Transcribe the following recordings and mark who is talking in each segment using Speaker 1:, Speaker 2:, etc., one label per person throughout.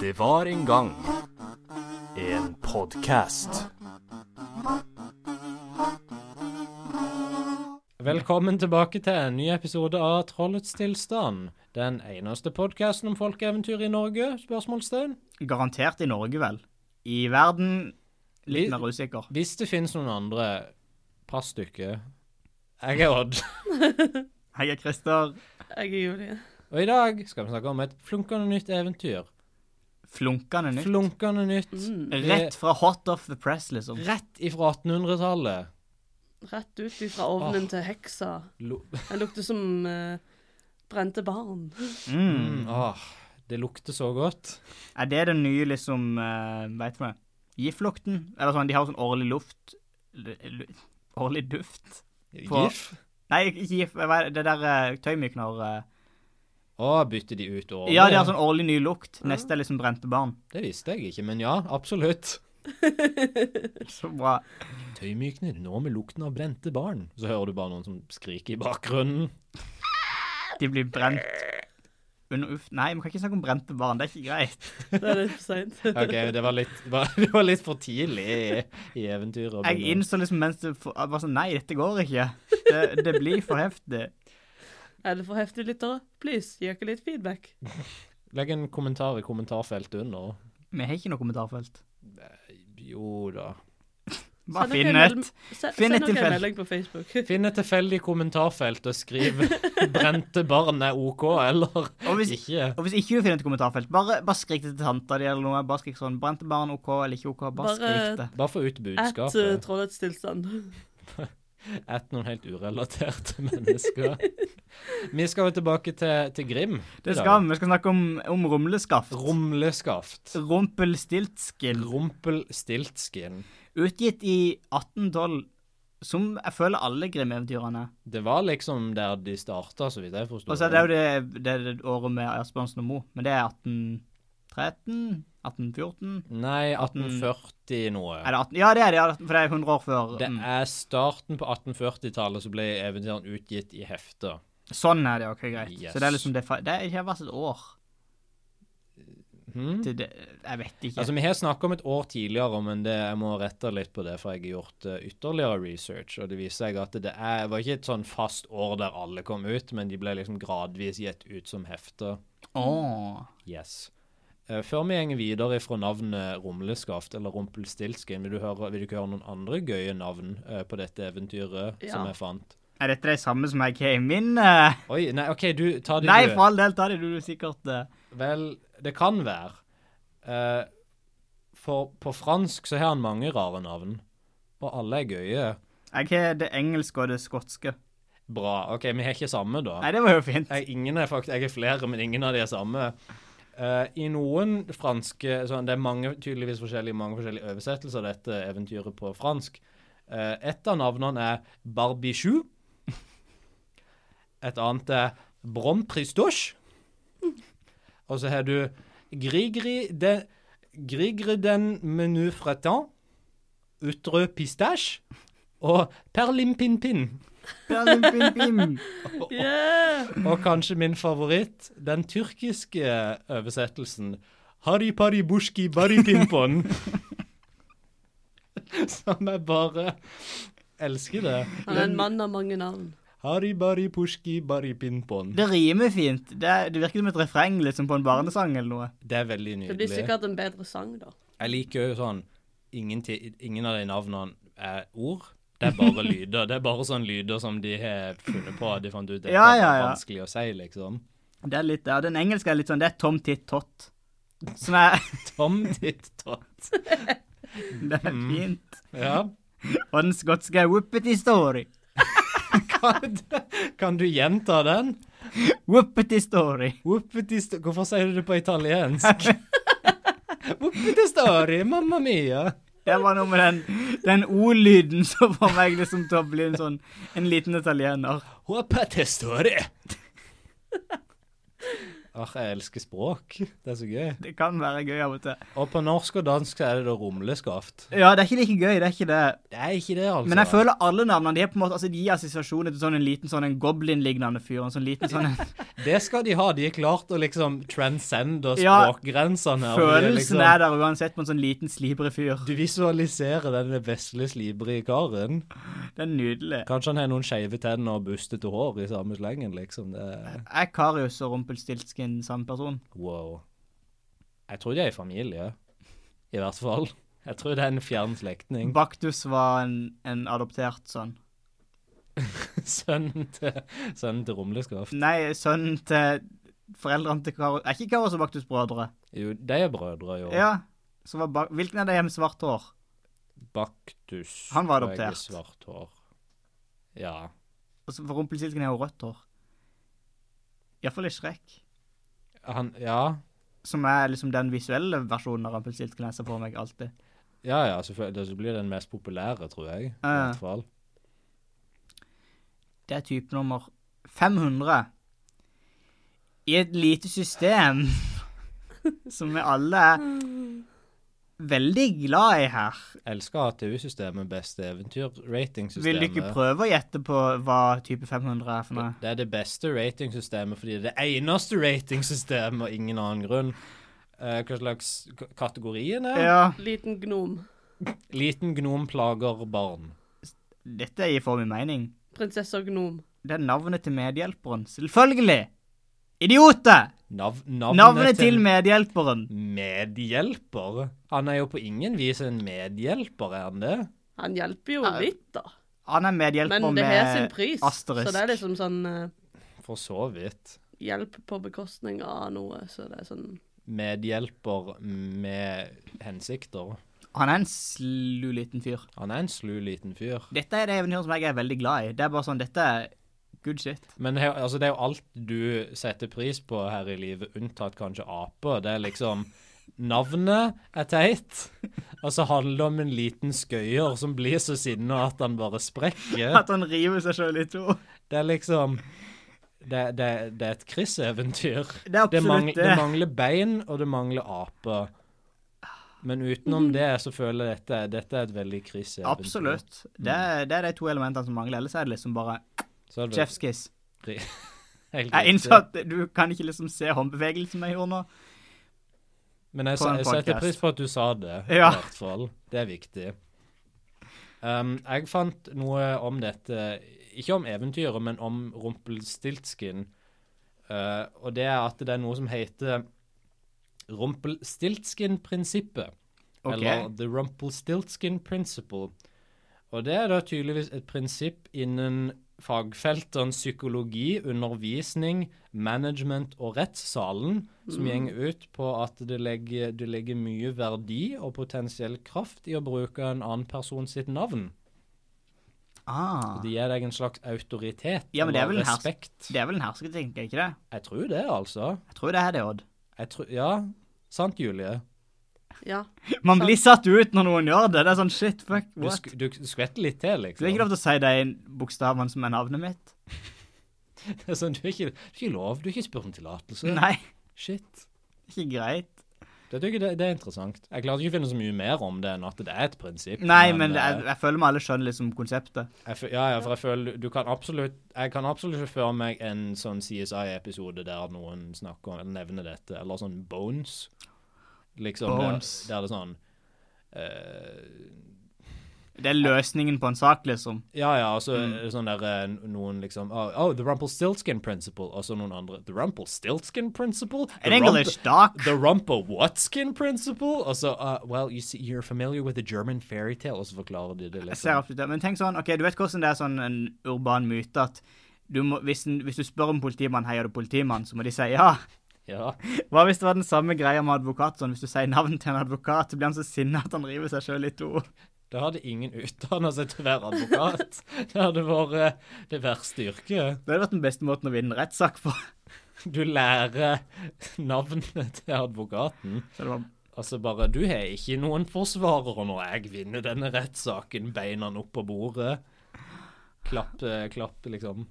Speaker 1: Det var en gang en podkast.
Speaker 2: Velkommen tilbake til en ny episode av Trollets tilstand. Den eneste podkasten om folkeeventyr i Norge? spørsmålstegn.
Speaker 3: Garantert i Norge, vel. I verden litt mer usikker.
Speaker 2: Hvis det finnes noen andre passstykker Jeg er Odd,
Speaker 3: Jeg er Christer.
Speaker 4: Jeg er Julie.
Speaker 2: og i dag skal vi snakke om et flunkende nytt eventyr.
Speaker 3: Flunkende nytt. Mm.
Speaker 2: Flunkende nytt.
Speaker 3: Rett fra hot off the press, liksom.
Speaker 2: Rett ifra 1800-tallet.
Speaker 4: Rett ut fra ovnen til heksa.
Speaker 2: Lo-
Speaker 4: Den lukter som eh, brente barn.
Speaker 3: Mm.
Speaker 2: Mm, Åh, det lukter så godt.
Speaker 3: Er det den nye, liksom uh, Veit du det? Giftlukten? Eller sånn, de har sånn årlig luft l- l- Årlig duft? På-
Speaker 2: Gif.
Speaker 3: Nei, ikke gif, hva er det det der uh, tøymykner eh,
Speaker 2: Å, bytter de ut årene?
Speaker 3: Ja, de har sånn årlig ny lukt. Neste er liksom brente barn.
Speaker 2: Det visste jeg ikke, men ja, absolutt.
Speaker 3: Så bra.
Speaker 2: Tøymykner, nå med lukten av brente barn. Så hører du bare noen som skriker i bakgrunnen.
Speaker 3: De blir brent under uff. Nei, vi kan ikke snakke om brente barn. Det er ikke greit.
Speaker 4: Det er litt for seint.
Speaker 2: Ok, det var litt, var- det var litt for tidlig i, i eventyret. å
Speaker 3: Jeg
Speaker 2: begynne.
Speaker 3: innså liksom mens det for, jeg var sånn Nei, dette går ikke. Det, det blir for heftig.
Speaker 4: Er det for heftig, lyttere? Please, gi oss litt feedback.
Speaker 2: Legg en kommentar i kommentarfeltet under.
Speaker 3: Vi har ikke noe kommentarfelt.
Speaker 2: Jo da.
Speaker 3: Bare
Speaker 4: Send
Speaker 3: finn
Speaker 4: dere
Speaker 3: et.
Speaker 4: en mel- se-
Speaker 3: Finn et
Speaker 4: Send dere
Speaker 3: tilfelle.
Speaker 4: en melding på Facebook.
Speaker 2: Finn et tilfeldig kommentarfelt og skriv 'brente barn er OK' eller
Speaker 3: Og hvis,
Speaker 2: ikke.
Speaker 3: og hvis ikke du finner et kommentarfelt, bare, bare skrik det til tanta di eller noe. Bare skrik sånn 'Brente barn OK eller ikke OK'. Bare,
Speaker 4: Bare-
Speaker 3: skrik det.
Speaker 2: Bare få ut
Speaker 4: At eh,
Speaker 2: budskapet.
Speaker 4: trollets tilstand.
Speaker 2: Et noen helt urelaterte mennesker. Vi skal jo tilbake til, til Grim. i
Speaker 3: Det
Speaker 2: dag.
Speaker 3: skal vi. Vi skal snakke om, om rumleskaft.
Speaker 2: Rumleskaft.
Speaker 3: Rumpelstiltskin.
Speaker 2: Rumpelstiltskin.
Speaker 3: Utgitt i 1812. Som jeg føler alle Grim-eventyrene.
Speaker 2: Det var liksom der de starta, så vidt jeg forstår.
Speaker 3: Og så er det jo det, det, det året med Asbjørnsen og Moe, men det er 1813? 1814?
Speaker 2: Nei, 1840 noe.
Speaker 3: Mm. Er det 18? Ja, det er det, ja, for det er 100 år før.
Speaker 2: Det
Speaker 3: mm.
Speaker 2: er starten på 1840-tallet så ble eventyrene utgitt i hefter.
Speaker 3: Sånn er det, ok, greit.
Speaker 2: Yes.
Speaker 3: Så det er liksom det, fa- det er ikke vært et år.
Speaker 2: Hmm?
Speaker 3: Til det, jeg vet ikke.
Speaker 2: Altså, Vi har snakka om et år tidligere, men det, jeg må rette litt på det, for jeg har gjort eh, ytterligere research, og det viser seg at det er, var ikke et sånn fast år der alle kom ut, men de ble liksom gradvis gitt ut som hefter.
Speaker 3: Åh.
Speaker 2: Yes. Eh, Før vi går videre fra navnet Rumleskaft eller Rumpelstiltskin, vil, du høre- vil du ikke høre noen andre gøye navn eh, på dette eventyret
Speaker 4: Ja.
Speaker 2: som jeg fant?
Speaker 3: Er dette det samme som jeg har i min eh?
Speaker 2: Oi, nei, OK, du, ta det
Speaker 3: Nei,
Speaker 2: du.
Speaker 3: for all del, ta det du sikkert eh.
Speaker 2: Vel, det kan være. Eh, for på fransk så har han mange rare navn. Og alle er gøye.
Speaker 3: Jeg har det engelske og det skotske.
Speaker 2: Bra. OK, vi har ikke samme, da.
Speaker 3: Nei, det var jo fint.
Speaker 2: Jeg, ingen er faktisk, jeg er flere, men ingen av de er samme. Eh, I noen franske sånn, Det er mange, tydeligvis forskjellige, mange forskjellige oversettelser av dette eventyret på fransk. Eh, et av navnene er Barbichou. Et annet er Brompristoche. Og så har du Grigri de, Grigri den menu fretan. Utre pistache. Og perlimpinpin.
Speaker 3: Bim, bim, bim.
Speaker 4: Yeah!
Speaker 2: Og kanskje min favoritt, den tyrkiske oversettelsen. Hari pari bushki bari pimpon. Som jeg bare elsker det.
Speaker 4: Han er en mann av mange navn.
Speaker 2: Hari bari pushki bari pimpon.
Speaker 3: Det rimer fint. Det, er- det virker som et refreng, liksom på en barnesang eller noe.
Speaker 2: Det er veldig
Speaker 4: Det blir
Speaker 2: nydelig.
Speaker 4: sikkert en bedre sang, da.
Speaker 2: Jeg liker jo sånn ingen, ti- ingen av de navnene er ord. Det er bare lyder. Det er bare sånne lyder som de har funnet på. De fant ut det
Speaker 3: Ja, ja,
Speaker 2: er
Speaker 3: ja.
Speaker 2: vanskelig å si, liksom.
Speaker 3: Det er litt, ja, den engelske er litt sånn, det er Tom Titt Tott. Som er,
Speaker 2: Tom ditt tott.
Speaker 3: det er
Speaker 2: Mm.
Speaker 3: fint.
Speaker 2: Ja.
Speaker 3: Og den skotske er Whoopity Story.
Speaker 2: Kan, kan du gjenta den?
Speaker 3: Whoopity Story.
Speaker 2: Whoopity sto- Hvorfor sier du det på italiensk? Whoopity story, mamma mia.
Speaker 3: Det var noe med den, den O-lyden som får meg liksom til å bli en sånn en liten italiener.
Speaker 2: Whoopity story. Ah, jeg elsker språk. Det er så gøy.
Speaker 3: Det kan være gøy av og til.
Speaker 2: Og på norsk og dansk så er det da rumleskaft.
Speaker 3: Ja, det er ikke like gøy, det er ikke det.
Speaker 2: Det er ikke det, altså.
Speaker 3: Men jeg føler alle navnene de er på en måte, altså de gir assosiasjoner til sånn en liten sånn en goblin-lignende fyr. En sånn liten sånn en
Speaker 2: Det skal de ha. De har klart å liksom transcende
Speaker 3: Ja,
Speaker 2: språkgrensene. og de er liksom-
Speaker 3: Følelsen er der uansett på en sånn liten, slibrig fyr.
Speaker 2: Du visualiserer denne vesle, slibrige karen.
Speaker 3: Det er nydelig.
Speaker 2: Kanskje han har noen skeive tenner og bustete hår i samme slengen, liksom. Det er
Speaker 3: Er Karius og Rumpelstiltskin samme person?
Speaker 2: wow. Jeg tror de er i familie, i hvert fall. Jeg tror det er en fjern slektning.
Speaker 3: Baktus var en, en adoptert sønn.
Speaker 2: Sønnen til, sønnen til Rumleskaft.
Speaker 3: Nei, sønnen til foreldrene til Karius Er ikke Karius og Baktus brødre?
Speaker 2: Jo, de er brødre, jo.
Speaker 3: Ja. Så var ba Hvilken av dem er med svart hår?
Speaker 2: Baktus.
Speaker 3: Han var
Speaker 2: begge
Speaker 3: adoptert.
Speaker 2: Svart hår. Ja.
Speaker 3: Og så- For Rumpelstiltskin har jo rødt hår. Iallfall i Shrek.
Speaker 2: Han Ja.
Speaker 3: Som er liksom den visuelle versjonen av Rumpelstiltskin jeg ser for meg alltid.
Speaker 2: Ja, ja, selvfølgelig. Det så blir den mest populære, tror jeg. I
Speaker 3: Ja, ja.
Speaker 2: hvert fall.
Speaker 3: Det er type nummer 500. I et lite system som vi alle er veldig glad i her.
Speaker 2: Elsker ATU-systemet, beste eventyr-ratingsystemet.
Speaker 3: Vil du ikke prøve å gjette på hva type 500 er for noe?
Speaker 2: Det er det beste ratingsystemet fordi det er det eneste ratingsystemet og ingen annen grunn. Eh, hva slags k- kategorien er?
Speaker 3: Ja,
Speaker 4: Liten gnom.
Speaker 2: Liten gnom plager barn.
Speaker 3: dette gir for min mening.
Speaker 4: Prinsesse og gnom.
Speaker 3: Det er navnet til medhjelperen. Selvfølgelig! Idioter!
Speaker 2: Nav
Speaker 3: Navnet, til medhjelperen.
Speaker 2: medhjelper? Han er jo på ingen vis en medhjelper, er han det?
Speaker 4: Han hjelper jo
Speaker 3: Ja,
Speaker 4: litt, da.
Speaker 3: Han er medhjelper
Speaker 4: Men det har sin
Speaker 3: med
Speaker 4: pris. Så det er
Speaker 3: asterisk.
Speaker 4: liksom sånn eh,
Speaker 2: For så vidt.
Speaker 4: hjelp på bekostning av noe. Så det er sånn
Speaker 2: Medhjelper med hensikter.
Speaker 3: Han er en slu liten fyr.
Speaker 2: Han er en slu liten fyr.
Speaker 3: Dette er det eventyret som jeg er veldig glad i. Det er bare sånn, dette er good shit.
Speaker 2: Men he, altså, det er jo alt du setter pris på her i livet, unntatt kanskje aper. Det er liksom Navnet er teit, og så handler det om en liten skøyer som blir så sinna at han bare sprekker.
Speaker 3: At han river seg sjøl i to.
Speaker 2: Det er liksom Det, det, det er et Chris-eventyr.
Speaker 3: Det er
Speaker 2: Det, mangl-
Speaker 3: absolutt det.
Speaker 2: det mangler bein, og det mangler aper. Men utenom det så føler jeg dette, dette er et veldig Chris-eventyr.
Speaker 3: Mhm. Absolutt. Det er, det er de to elementene som mangler. Ellers er det liksom bare
Speaker 2: Så er det
Speaker 3: chef's kiss.
Speaker 2: helt
Speaker 3: Jeg
Speaker 2: riktig.
Speaker 3: innså at du kan ikke liksom se håndbevegelsen jeg gjorde nå.
Speaker 2: Men jeg,
Speaker 3: på en
Speaker 2: jeg setter
Speaker 3: podcast.
Speaker 2: pris på at du sa det,
Speaker 3: Ja.
Speaker 2: i hvert fall. Det er viktig. Um, jeg fant noe om dette, ikke om eventyret, men om Rumpelstiltskin. Uh, og det er at det er noe som heter Rumpelstiltskin-prinsippet.
Speaker 3: Ok.
Speaker 2: Eller The Rumpelstiltskin Principle. Og det er da tydeligvis et prinsipp innen fagfeltene psykologi, undervisning, management og rettssalen,
Speaker 3: Mm.
Speaker 2: som gjenger ut på at det legger, det legger mye verdi og potensiell kraft i å bruke en annen person sitt navn.
Speaker 3: Ah.
Speaker 2: Det gir deg en slags autoritet
Speaker 3: Ja, men det er
Speaker 2: eller
Speaker 3: vel en hers-
Speaker 2: respekt.
Speaker 3: Det er vel en hersketing, er ikke det?
Speaker 2: Jeg tror det, altså.
Speaker 3: Jeg tror det er det, Odd.
Speaker 2: Jeg tror, ja, sant, Julie?
Speaker 4: Ja.
Speaker 3: Man
Speaker 4: Sant.
Speaker 3: blir satt ut når noen gjør det. Det er sånn shit, fuck,
Speaker 2: Du,
Speaker 3: what?
Speaker 2: sk du skvetter litt til,
Speaker 3: Du er ikke
Speaker 2: liksom.
Speaker 3: lov til å si de bokstavene som er navnet mitt.
Speaker 2: Det er sånn, Du er ikke, du er ikke lov. Du har ikke spurt om tillatelse.
Speaker 3: Nei,
Speaker 2: Shit.
Speaker 3: ikke greit.
Speaker 2: Det, det, det er interessant. Jeg klarte ikke å finne så mye mer om det enn at det er et prinsipp.
Speaker 3: Nei, men jeg,
Speaker 2: eh,
Speaker 3: jeg føler vi alle skjønner liksom konseptet.
Speaker 2: jeg, fø- Ja, ja, for jeg føler du kan absolutt Jeg kan absolutt ikke føre meg en sånn CSI-episode der noen snakker eller nevner dette, eller sånn Bones. Liksom,
Speaker 3: Bones.
Speaker 2: Der, der det er sånn eh,
Speaker 3: Det er løsningen på en sak, liksom.
Speaker 2: Ja, ja, og så er det sånn der eh, noen liksom Oh, oh The Rumpelstiltskin Principle, og så noen andre The Rumpelstiltskin Principle? The
Speaker 3: An English doc.
Speaker 2: The Rumpa Watskin Principle? Og så uh, Well, you see, you're familiar with the German fairy tale, og så forklarer de det
Speaker 3: Jeg ser
Speaker 2: liksom.
Speaker 3: absolutt det. Men tenk sånn, ok, du vet hvordan det er sånn en urban myte at du må, hvis, en, hvis du spør en politimann heier du politimann, så må de si ja.
Speaker 2: Ja.
Speaker 3: Hva hvis det var den samme greia med advokat? Sånn, hvis du sier navnet til en advokat, så blir han så sinna at han river seg sjøl i to.
Speaker 2: Da hadde ingen utdanna seg til å være advokat. Det hadde vært eh, det verste yrket.
Speaker 3: Det hadde vært den beste måten å vinne en rettssak på.
Speaker 2: Du lærer navnet til advokaten.
Speaker 3: Så det var,
Speaker 2: Altså bare Du har ikke noen forsvarer når jeg vinner denne rettssaken. Beina han opp på bordet. Klapp, eh, klapp liksom.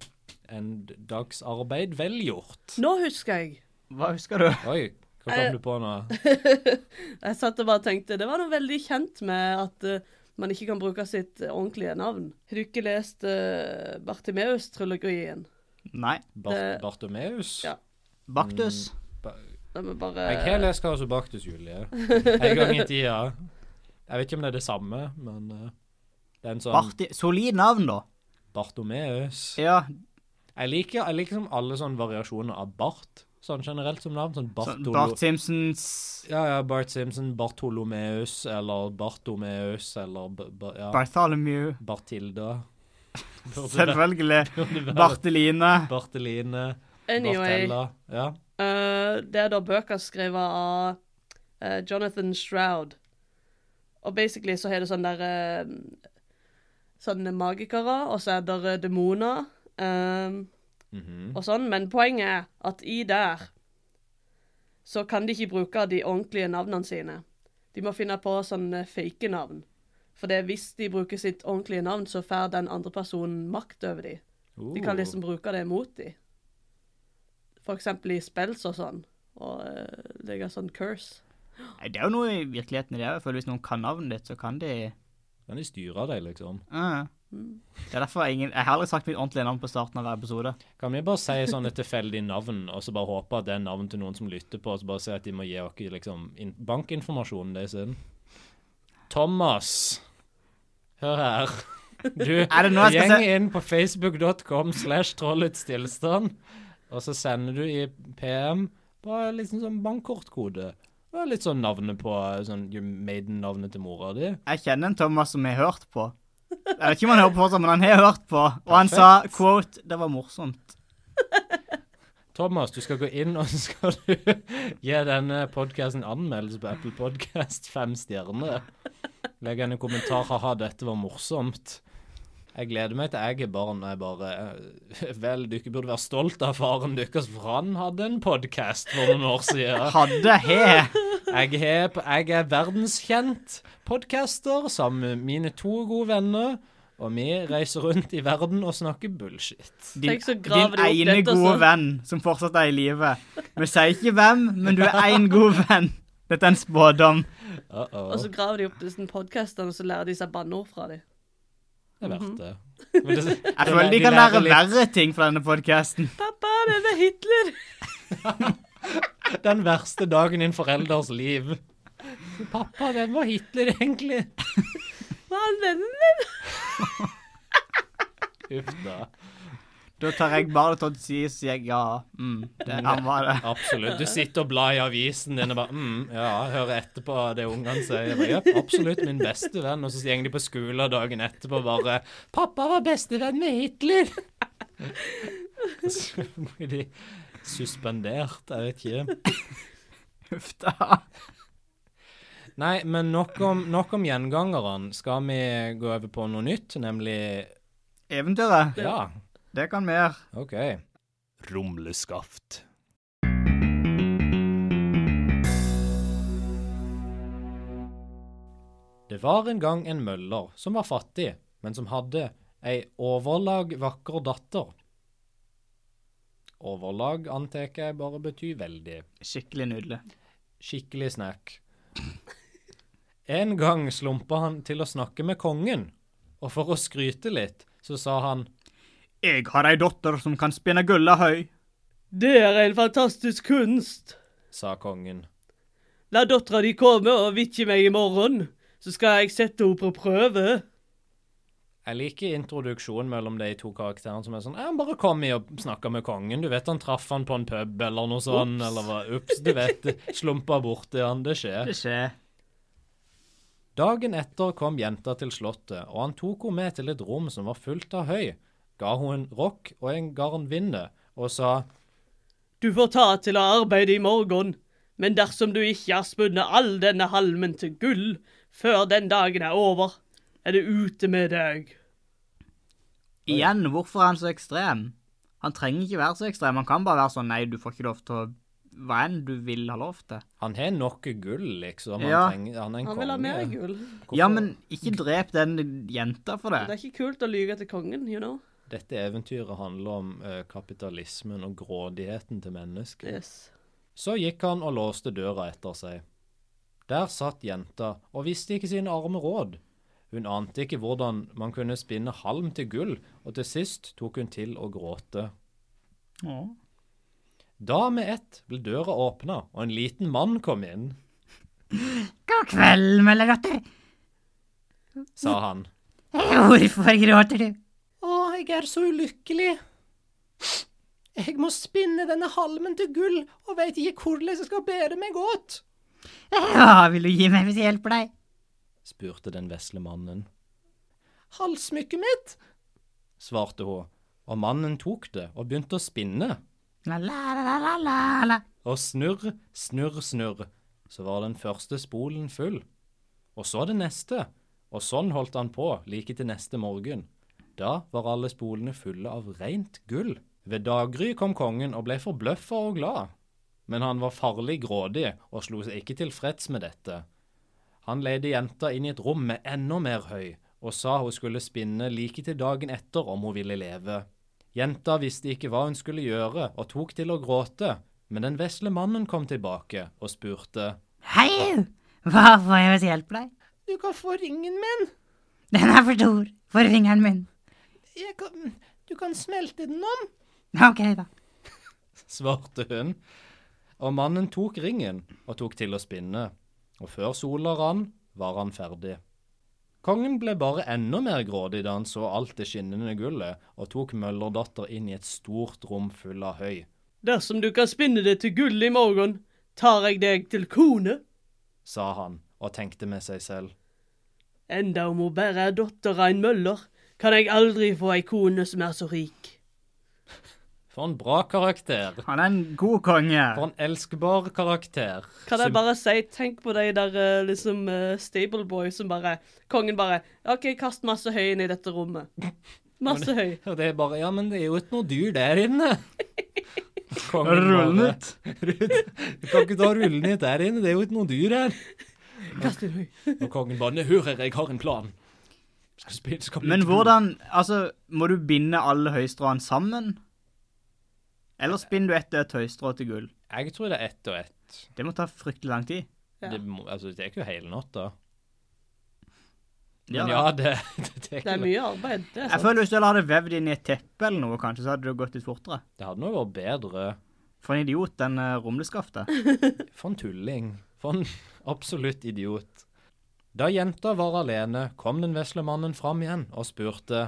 Speaker 2: En dags arbeid vel gjort.
Speaker 4: Nå husker jeg.
Speaker 3: Hva husker du?
Speaker 2: Oi, hva
Speaker 4: Eh.
Speaker 2: kom du på nå?
Speaker 4: jeg satt og bare tenkte Det var noe veldig kjent med at eh, man ikke kan bruke sitt eh, ordentlige navn. Har du ikke lest eh, Bartimeus-trilogien?
Speaker 3: Nei.
Speaker 2: Bart
Speaker 4: Det-
Speaker 2: Bartomeus?
Speaker 4: eh, Ja. eh.
Speaker 3: Baktus.
Speaker 2: Ba
Speaker 4: Da må bare
Speaker 2: jeg har lest Kaos og Baktus, Julie. En gang i tida. Jeg vet ikke om det er det samme, men eh, det er en sånn
Speaker 3: Barti Solid navn, da.
Speaker 2: Bartomeus.
Speaker 3: Ja.
Speaker 2: Jeg liker, jeg liker som alle sånne variasjoner av Bart, sånn generelt som navn. Sånn
Speaker 3: sånn
Speaker 2: Bartolo...
Speaker 3: Bart Simpsons
Speaker 2: Ja, ja, Bart Simpson, Bartolomeus eller Bartomeus eller b b ja,
Speaker 3: Bartholomew.
Speaker 2: Bartilda. Burde det-
Speaker 3: Selvfølgelig.
Speaker 2: burde det være
Speaker 3: Barteline.
Speaker 2: Barteline.
Speaker 4: Anyway,
Speaker 2: Bartella. Ja.
Speaker 4: eh, det er da bøker skrevet av eh, Jonathan Shroud. Og basically så har det sånn der eh, Sånne magikere, og så er det demoner. eh,
Speaker 2: Mhm.
Speaker 4: og sånn, men poenget er at i der så kan de ikke bruke de ordentlige navnene sine. De må finne på sånne fake navn. For det er hvis de bruker sitt ordentlige navn, så får den andre personen makt over dem. De kan
Speaker 2: Oh.
Speaker 4: liksom bruke det mot dem. For eksempel i spells og sånn. Og uh, legge sånn curse.
Speaker 3: Nei, Det er jo noe i virkeligheten i det. Jeg føler Hvis noen kan navnet ditt, så kan de
Speaker 2: Kan de styre deg, liksom?
Speaker 3: Ja.
Speaker 4: Mm.
Speaker 3: Det er derfor ingen, Jeg har aldri sagt mitt ordentlige navn på starten av hver episode.
Speaker 2: Kan vi bare si sånn et tilfeldig navn, og så bare håpe at det er navn til noen som lytter på, og så bare si at de må gi oss liksom, in- bankinformasjonen deres inn? Thomas, hør her. Du
Speaker 3: Er det nå jeg skal
Speaker 2: gjeng
Speaker 3: se-
Speaker 2: inn på facebook.com slash trollets tilstand, og så sender du i PM bare liksom sånn bankkortkode. Og litt sånn navnet på sånn maiden-navnet til mora di.
Speaker 3: Jeg kjenner en Thomas som jeg har hørt på. Jeg vet ikke om han hører på fortsatt, men han har hørt på. Og han sa quote, 'Det var morsomt'.
Speaker 2: Thomas, du skal gå inn og så skal du gi denne podkasten anmeldelse på Apple Podcast fem stjerner. Legg igjen en kommentar 'ha-ha, dette var morsomt'. Jeg gleder meg til jeg er barn og jeg bare eh, Vel, dere burde være stolt av faren deres, for han hadde en podkast for noen år siden.
Speaker 3: Hadde he.
Speaker 2: Jeg, har p- jeg er verdenskjent podcaster sammen med mine to gode venner, og vi reiser rundt i verden og snakker bullshit.
Speaker 3: Din,
Speaker 4: Tenk så graver
Speaker 3: din
Speaker 4: de opp
Speaker 3: ene
Speaker 4: dette,
Speaker 3: gode
Speaker 4: så.
Speaker 3: venn som fortsatt er i live. Vi sier ikke hvem, men du er én god venn. Dette er en spådom.
Speaker 2: Uh -oh.
Speaker 4: Og så graver de opp disse podkastene, og så lærer de seg banneord fra dem.
Speaker 2: Det er
Speaker 4: Mhm.
Speaker 2: verdt det. Men det
Speaker 3: Jeg føler de kan lære verre ting fra denne podkasten.
Speaker 4: Pappa, det er Hitler!
Speaker 2: Den verste dagen i en forelders liv. Pappa, hvem var Hitler egentlig?
Speaker 4: Hva er vennen din?
Speaker 2: Uff da.
Speaker 3: Da tar jeg bare det til å si, så sier jeg ja. Mm, det, han var det.
Speaker 2: Absolutt. Du sitter og blar i avisen din og bare mm, ja, hører etterpå det ungene sier. Jeg bare, «Jep, absolutt min beste venn. Og så går de på skolen dagen etterpå og bare 'Pappa var bestevenn med Hitler'. Så blir de suspendert. Jeg vet ikke.
Speaker 3: Uff da.
Speaker 2: Nei, men nok om, nok om gjengangerne. Skal vi gå over på noe nytt, nemlig
Speaker 3: Eventyret.
Speaker 2: Ja,
Speaker 3: Det kan vi gjøre.
Speaker 2: OK.
Speaker 1: Rumleskaft.
Speaker 2: Det var en gang en møller som var fattig, men som hadde ei overlag vakker datter. Overlag antar jeg bare betyr veldig.
Speaker 3: Skikkelig nydelig.
Speaker 2: Skikkelig snack. En gang slumpa han til å snakke med kongen, og for å skryte litt, så sa han
Speaker 3: Jeg har ei datter som kan spinne gulla høy.
Speaker 4: Det er en fantastisk kunst.
Speaker 2: sa kongen.
Speaker 4: La dattera di komme og vitje meg i morgen, så skal jeg sette henne på prøve.
Speaker 2: Jeg liker introduksjonen mellom de to karakterene som er sånn «Ja, Han bare kom i og snakka med kongen. Du vet han traff han på en pub eller noe sånn,
Speaker 4: Ups.
Speaker 2: eller hva. Ups, du vet. Slumpa borti han. Det skjer.
Speaker 3: Det skjer.
Speaker 2: Dagen etter kom jenta til slottet, og han tok henne med til et rom som var fullt av høy, ga hun en rokk og en garnvinne, og sa
Speaker 4: Du får ta til å arbeide i morgen, men dersom du ikke har spunnet all denne halmen til gull før den dagen er over, er det ute med deg.
Speaker 3: Igjen, hvorfor er han så ekstrem? Han trenger ikke være så ekstrem. Han kan bare være sånn nei, du får ikke lov til å Hva enn du vil ha lov til.
Speaker 2: Han har noe gull, liksom. Han,
Speaker 3: Ja.
Speaker 2: trenger, han er en
Speaker 4: Han
Speaker 2: konge.
Speaker 4: vil ha mer gull.
Speaker 2: Hvorfor-
Speaker 3: Ja, men ikke drep den jenta for
Speaker 4: Det
Speaker 3: det.
Speaker 4: er ikke kult å lyge til kongen, you know.
Speaker 2: Dette eventyret handler om eh, kapitalismen og grådigheten til mennesket.
Speaker 4: Yes.
Speaker 2: Så gikk han og låste døra etter seg. Der satt jenta og visste ikke sine arme råd. Hun ante ikke hvordan man kunne spinne halm til gull, og til sist tok hun til å gråte.
Speaker 3: Å.
Speaker 2: Da med ett ble døra åpna, og en liten mann kom inn,
Speaker 3: God kveld, Møllerdatter.
Speaker 2: sa han.
Speaker 3: Hvorfor gråter du?
Speaker 2: Å, jeg er så ulykkelig. Jeg må spinne denne halmen til gull, og veit ikke hvordan jeg skal bære meg åt.
Speaker 3: Hva vil du gi meg hvis jeg hjelper deg?
Speaker 2: spurte den vesle mannen. Halssmykket mitt, svarte hun, og mannen tok det og begynte å spinne.
Speaker 3: La, la, la, la, la, la, la.
Speaker 2: Og snurr, snurr, snurr, så var den første spolen full. Og så den neste, og sånn holdt han på like til neste morgen. Da var alle spolene fulle av rent gull. Ved daggry kom kongen og ble forbløffa og glad. Men han var farlig grådig og slo seg ikke tilfreds med dette. Han leide jenta inn i et rom med enda mer høy, og sa hun skulle spinne like til dagen etter om hun ville leve. Jenta visste ikke hva hun skulle gjøre, og tok til å gråte, men den vesle mannen kom tilbake og spurte.
Speaker 3: Hei! Hva får jeg hvis jeg hjelper deg?
Speaker 2: Du kan få ringen min.
Speaker 3: Den er for stor for fingeren min.
Speaker 2: du kan smelte den om,
Speaker 3: Ok, da.
Speaker 2: svarte hun. Og mannen tok ringen og tok til å spinne, og før sola rann, var han ferdig. Kongen ble bare enda mer grådig da han så alt det skinnende gullet, og tok møllerdatter inn i et stort rom full av høy.
Speaker 4: Dersom du kan spinne det til gull i morgen, tar jeg deg til kone.
Speaker 2: sa han og tenkte med seg selv.
Speaker 4: Enda om hun bare er datter av en møller, kan jeg aldri få ei kone som er så rik.
Speaker 2: For en bra karakter!
Speaker 3: Han er en god konge.
Speaker 2: For en elskbar karakter.
Speaker 4: Kan jeg
Speaker 2: Sub-
Speaker 4: bare si, tenk på de der eh, liksom eh, stable boys som bare Kongen bare OK, kast masse høy inn i dette rommet. Masse høy.
Speaker 2: Og det er bare Ja, men det er jo ikke noe dyr der inne. Kongen
Speaker 3: Rull den
Speaker 2: bare-
Speaker 3: ut.
Speaker 2: Du kan ikke ta rullen ut der inne, det er jo ikke noe dyr her.
Speaker 4: Kast inn høy.
Speaker 2: Og kongen bare «Nei, Hør her, jeg har en plan. Skal spille, skal bli
Speaker 3: Men
Speaker 2: til gull.»
Speaker 3: hvordan Altså, må du binde alle høystråene sammen? Eller spinner du ett og ett høystrå til gull?
Speaker 2: Jeg tror det er ett og ett.
Speaker 3: Det må ta fryktelig lang tid.
Speaker 4: Ja.
Speaker 2: Det, må- altså, det er ikke hele natta.
Speaker 3: Ja,
Speaker 2: Men ja, det, det, det,
Speaker 4: Det er mye arbeid. det altså. er
Speaker 3: Jeg
Speaker 4: sant.
Speaker 3: føler Hvis du heller hadde vevd inn i et teppe eller noe, kanskje, så hadde det gått litt fortere.
Speaker 2: det hadde nå vært bedre.
Speaker 3: For en idiot, den eh, rumleskaftet.
Speaker 2: For en tulling. For en absolutt idiot. Da jenta var alene, kom den vesle mannen fram igjen og spurte.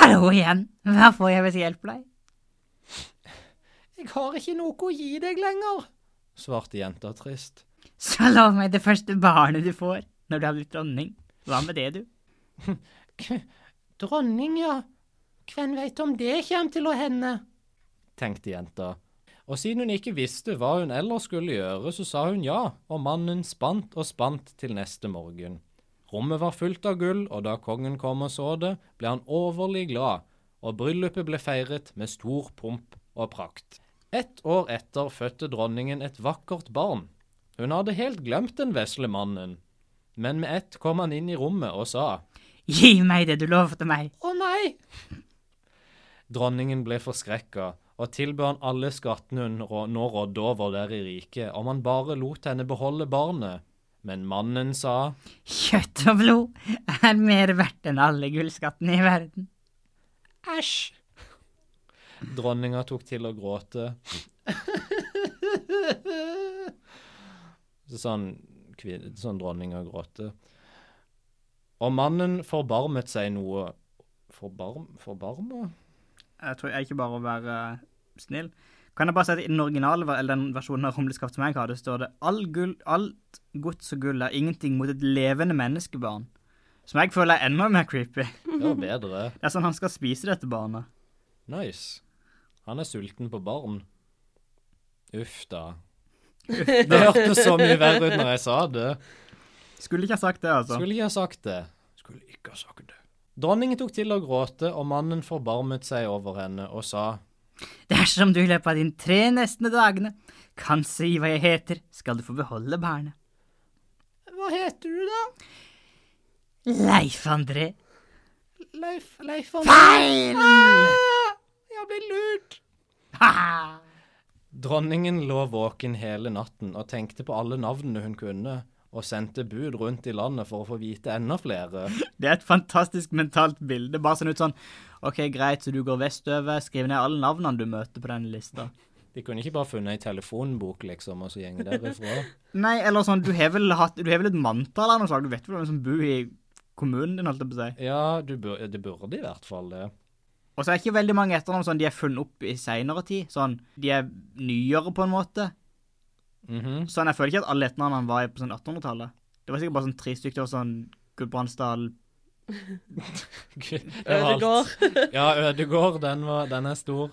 Speaker 3: Hallo igjen. Hva får jeg hvis jeg hjelper deg?
Speaker 2: Jeg har ikke noe å gi deg lenger, svarte jenta trist.
Speaker 3: Så lov meg det første barnet du får når du har blitt dronning. Hva med det, du?
Speaker 2: Dronning, ja. Hvem veit om det kommer til å hende? tenkte jenta. Og siden hun ikke visste hva hun ellers skulle gjøre, så sa hun ja, og mannen spant og spant til neste morgen. Rommet var fullt av gull, og da kongen kom og så det, ble han overlig glad, og bryllupet ble feiret med stor pomp og prakt. Ett år etter fødte dronningen et vakkert barn. Hun hadde helt glemt den vesle mannen, men med ett kom han inn i rommet og sa.
Speaker 3: Gi meg det du lovte meg.
Speaker 2: Å nei! Dronningen ble forskrekka og tilbød han alle skattene hun rå- nå rådde over der i riket, om han bare lot henne beholde barnet. Men mannen sa
Speaker 3: Kjøtt og blod er mer verdt enn alle gullskattene i verden.
Speaker 2: æsj. Dronninga tok til å gråte. sånn, kvin- sånn dronninga gråter. Og mannen forbarmet seg noe. Forbarm... Forbarma?
Speaker 3: Jeg tror jeg ikke bare å være eh, snill. Kan jeg bare si at i den originale ver- eller den versjonen av Rumleskaft som jeg hadde, står det All gull, alt gods og gull er ingenting mot et levende menneskebarn. Som jeg føler er enda mer creepy.
Speaker 2: Det var bedre.
Speaker 3: Det er sånn han skal spise dette barnet.
Speaker 2: Nice. Han er sulten på barn. Uff da. Det
Speaker 3: Skulle
Speaker 2: hørtes så mye verre ut når jeg sa det.
Speaker 3: ikke ha sagt det, altså.
Speaker 2: Skulle ikke ha sagt det. Skulle ikke ha sagt det. Dronningen tok til å gråte, og mannen forbarmet seg over henne og sa
Speaker 3: Dersom du i løpet av dine tre neste dagene kan si hva jeg heter, skal du få beholde barnet.
Speaker 2: Hva heter du da?
Speaker 3: Leif André.
Speaker 2: Leif, Leif
Speaker 3: Feil!
Speaker 2: Jeg ble lurt.
Speaker 3: Ha!
Speaker 2: Dronningen lå våken hele natten og tenkte på alle navnene hun kunne, og sendte bud rundt i landet for å få vite enda flere.
Speaker 3: Det er et fantastisk mentalt bilde. Bare sånn ut sånn OK, greit, så du går vestover. Skriv ned alle navnene du møter på den lista.
Speaker 2: De kunne ikke bare funnet ei telefonbok, liksom, og så gjenge derifra.
Speaker 3: Nei, eller sånn, du har vel, hatt, du har vel et manntall av noe slag. Du vet vel hvem som bor i kommunen din, holdt jeg på å si.
Speaker 2: Ja, du bur det burde i hvert fall det.
Speaker 3: Og så er ikke veldig mange etternavn sånn de er funnet opp i seinere tid. Sånn, de er nyere på en måte.
Speaker 2: Mhm.
Speaker 3: Sånn, jeg føler ikke at alle etternavnene var på sånn 1800-tallet. Det var sikkert bare sånn tre stykker. Det var sånn Gudbrandsdal
Speaker 2: Det var alt.
Speaker 4: Ødegård.
Speaker 2: Ja, Ødegård, den, var, den er stor.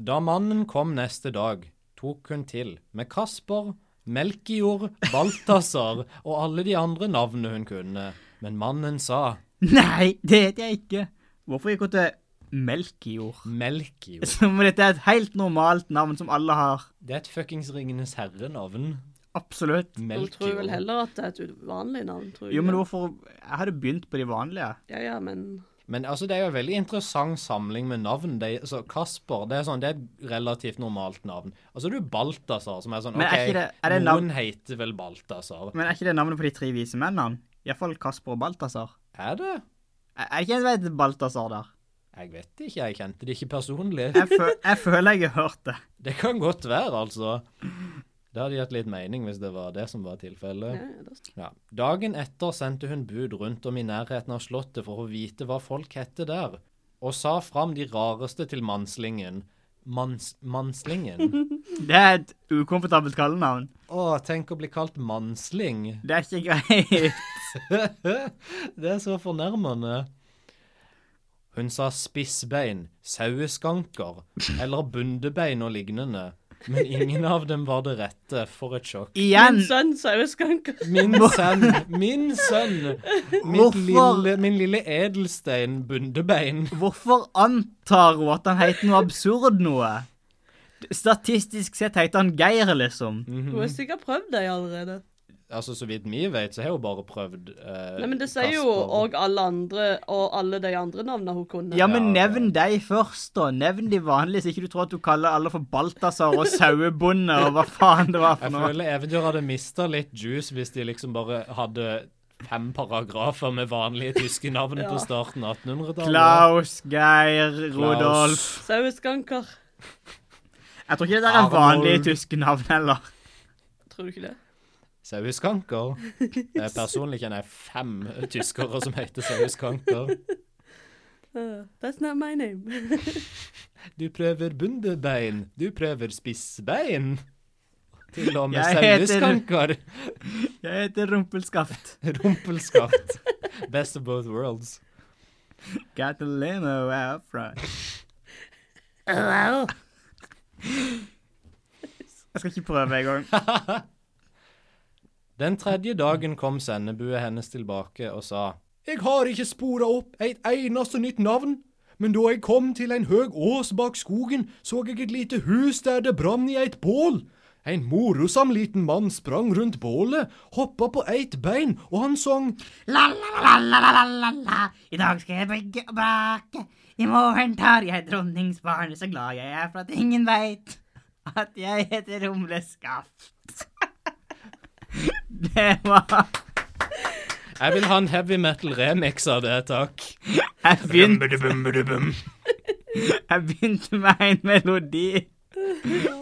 Speaker 2: Da mannen kom neste dag, tok hun til med Kasper, Melkejord, Balthazar og alle de andre navnene hun kunne. Men mannen sa
Speaker 3: Nei, det heter jeg ikke! Hvorfor gikk hun til Melkejord?
Speaker 2: Melkejord.
Speaker 3: Som om dette er et helt normalt navn som alle har.
Speaker 2: Det er et fuckings Ringenes herre-navn.
Speaker 3: Absolutt.
Speaker 4: Hun tror vel
Speaker 2: Melkejord.
Speaker 4: heller at det er et uvanlig navn, tror jeg.
Speaker 3: Jo, men hvorfor Jeg hadde begynt på de vanlige.
Speaker 4: Ja, ja, men
Speaker 2: Men altså, det er jo en veldig interessant samling med navn. Det, er- så Kasper det er, sånn, det er et relativt normalt navn. Og så er du Balthazar, som er sånn
Speaker 3: Men er
Speaker 2: OK,
Speaker 3: ikke det- er det navn-
Speaker 2: noen heter vel Balthazar.
Speaker 3: Men er ikke det navnet på de tre vise mennene? Iallfall Kasper og Balthazar.
Speaker 2: Er det?
Speaker 3: Er er det ikke en som heter Balthazar der?
Speaker 2: Jeg vet ikke, jeg kjente det ikke personlig.
Speaker 3: Jeg, fø jeg føler jeg har hørt det.
Speaker 2: Det kan godt være, altså. Det hadde gitt litt mening hvis det var det som var
Speaker 4: ja,
Speaker 2: tilfellet.
Speaker 4: ja, da s-
Speaker 2: Ja. Dagen etter sendte hun bud rundt om i nærheten av slottet for å vite hva folk hette der, og sa fram de rareste til mannslingen. Manns, mannslingen?
Speaker 3: Det er et ukomfortabelt kallenavn.
Speaker 2: Å, tenk å bli kalt mannsling.
Speaker 3: Det er ikke greit.
Speaker 2: det er så fornærmende. Hun sa spissbein, saueskanker eller bundebein og lignende, men ingen av dem var det rette. For et sjokk.
Speaker 3: Igjen!
Speaker 4: Min sønn saueskanker.
Speaker 2: Min sønn, min sønn, mitt
Speaker 3: Hvorfor?
Speaker 2: lille, min lille edelstein bundebein.
Speaker 3: Hvorfor antar hun at han heter noe absurd noe? Statistisk sett heter han Geir, liksom.
Speaker 2: Mm,
Speaker 4: Du har sikkert prøvd det allerede.
Speaker 2: Altså, så vidt vi vet, så har hun bare prøvd eh,
Speaker 4: Nei, men det sier jo
Speaker 2: Kasper.
Speaker 4: og alle andre og alle de andre navnene hun kunne.
Speaker 3: Ja, men
Speaker 2: Ja, ok.
Speaker 3: nevn deg først, da. Nevn de vanlige, så ikke du tror at du kaller alle for Balthazar og sauebonde og hva faen det var for
Speaker 2: Jeg
Speaker 3: noe.
Speaker 2: føler eventyret hadde mista litt juice hvis de liksom bare hadde fem paragrafer med vanlige tyske navn
Speaker 4: Ja.
Speaker 2: på starten av 1800-tallet.
Speaker 3: Klaus, Geir, Rodolf
Speaker 4: Saueskanker.
Speaker 3: Jeg tror ikke det der er
Speaker 2: Arnold.
Speaker 3: vanlige tyske navn heller.
Speaker 4: Tror du ikke det?
Speaker 2: Saueskanker. Eh, Personlig kjenner jeg fem tyskere som heter saueskanker.
Speaker 4: Uh, that's not my name.
Speaker 2: Du prøver bundebein, du prøver spissbein. Til og med
Speaker 3: Jeg heter-
Speaker 2: saueskanker.
Speaker 3: Jeg heter Rumpelskaft.
Speaker 2: Rumpelskaft. Best of both worlds.
Speaker 3: Got a limo out front.
Speaker 4: Hello.
Speaker 3: Jeg skal ikke prøve engang.
Speaker 2: Den tredje dagen kom sendebuet hennes tilbake og sa Jeg har ikke spora opp et eneste nytt navn, men da jeg kom til en høg ås bak skogen, så jeg et lite hus der det brann i et bål. En morosam liten mann sprang rundt bålet, hoppa på eit bein, og han sang
Speaker 5: La, la, la, la, la, la, la, la. I dag skal jeg brygge og bake. I morgen tar jeg dronningsbarnet, så glad jeg er for at ingen veit at jeg heter Rumleskaft.
Speaker 3: Det var
Speaker 2: Jeg vil ha en heavy metal remix av det, takk.
Speaker 3: Jeg begynte, jeg begynte med en melodi,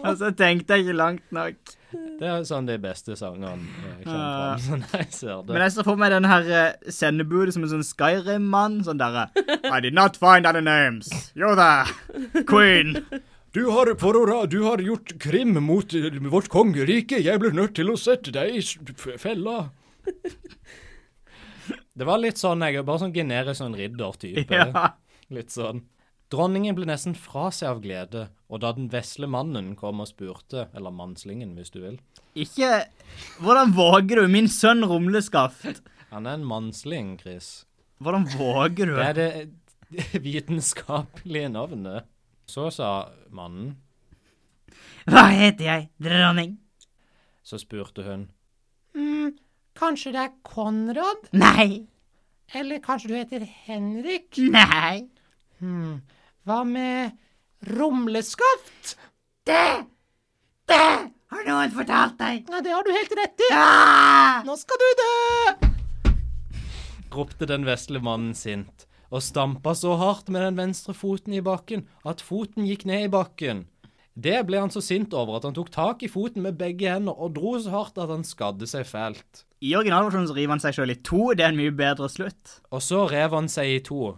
Speaker 3: og så tenkte jeg ikke langt nok.
Speaker 2: Det er sånn de beste sangene eh, kommer fram, sånn jeg ser
Speaker 3: Men
Speaker 2: det.
Speaker 3: jeg ser for meg den her eh, sendebudet som en sånn Skyrim-mann. Sånn derre I did not find other names. You're the queen.
Speaker 2: Du har, for å, ra- du har gjort krim mot eh, vårt kongerike. Jeg blir nødt til å sette deg i s- f- fella. Det var litt sånn, jeg er bare sånn generisk sånn riddertype.
Speaker 3: Ja.
Speaker 2: Litt sånn. Dronningen ble nesten fra seg av glede, og da den vesle mannen kom og spurte, eller mannslingen hvis du vil
Speaker 3: Ikke Hvordan våger du? Min sønn Rumleskaft.
Speaker 2: Han er en mannsling, Chris.
Speaker 3: Hvordan våger
Speaker 2: Det
Speaker 3: du?
Speaker 2: er det vitenskapelige navnet. Så sa mannen.
Speaker 5: Hva heter jeg, dronning?
Speaker 2: Så spurte hun.
Speaker 6: Mm, Kanskje det er Konrad?
Speaker 5: Nei.
Speaker 6: Eller kanskje du heter Henrik?
Speaker 5: Nei.
Speaker 6: Hva med Rumleskaft?
Speaker 5: Det Det har noen fortalt deg.
Speaker 6: Ja, det har du helt rett i.
Speaker 5: Ah!
Speaker 6: Nå skal du dø!
Speaker 2: ropte den vesle mannen sint, og stampa så hardt med den venstre foten i bakken at foten gikk ned i bakken. Det ble han så sint over at han tok tak i foten med begge hender og dro så hardt at han skadde seg fælt.
Speaker 3: I originalversjonen så river han seg sjøl i to. Det er en mye bedre slutt.
Speaker 2: Og så rev han seg i to.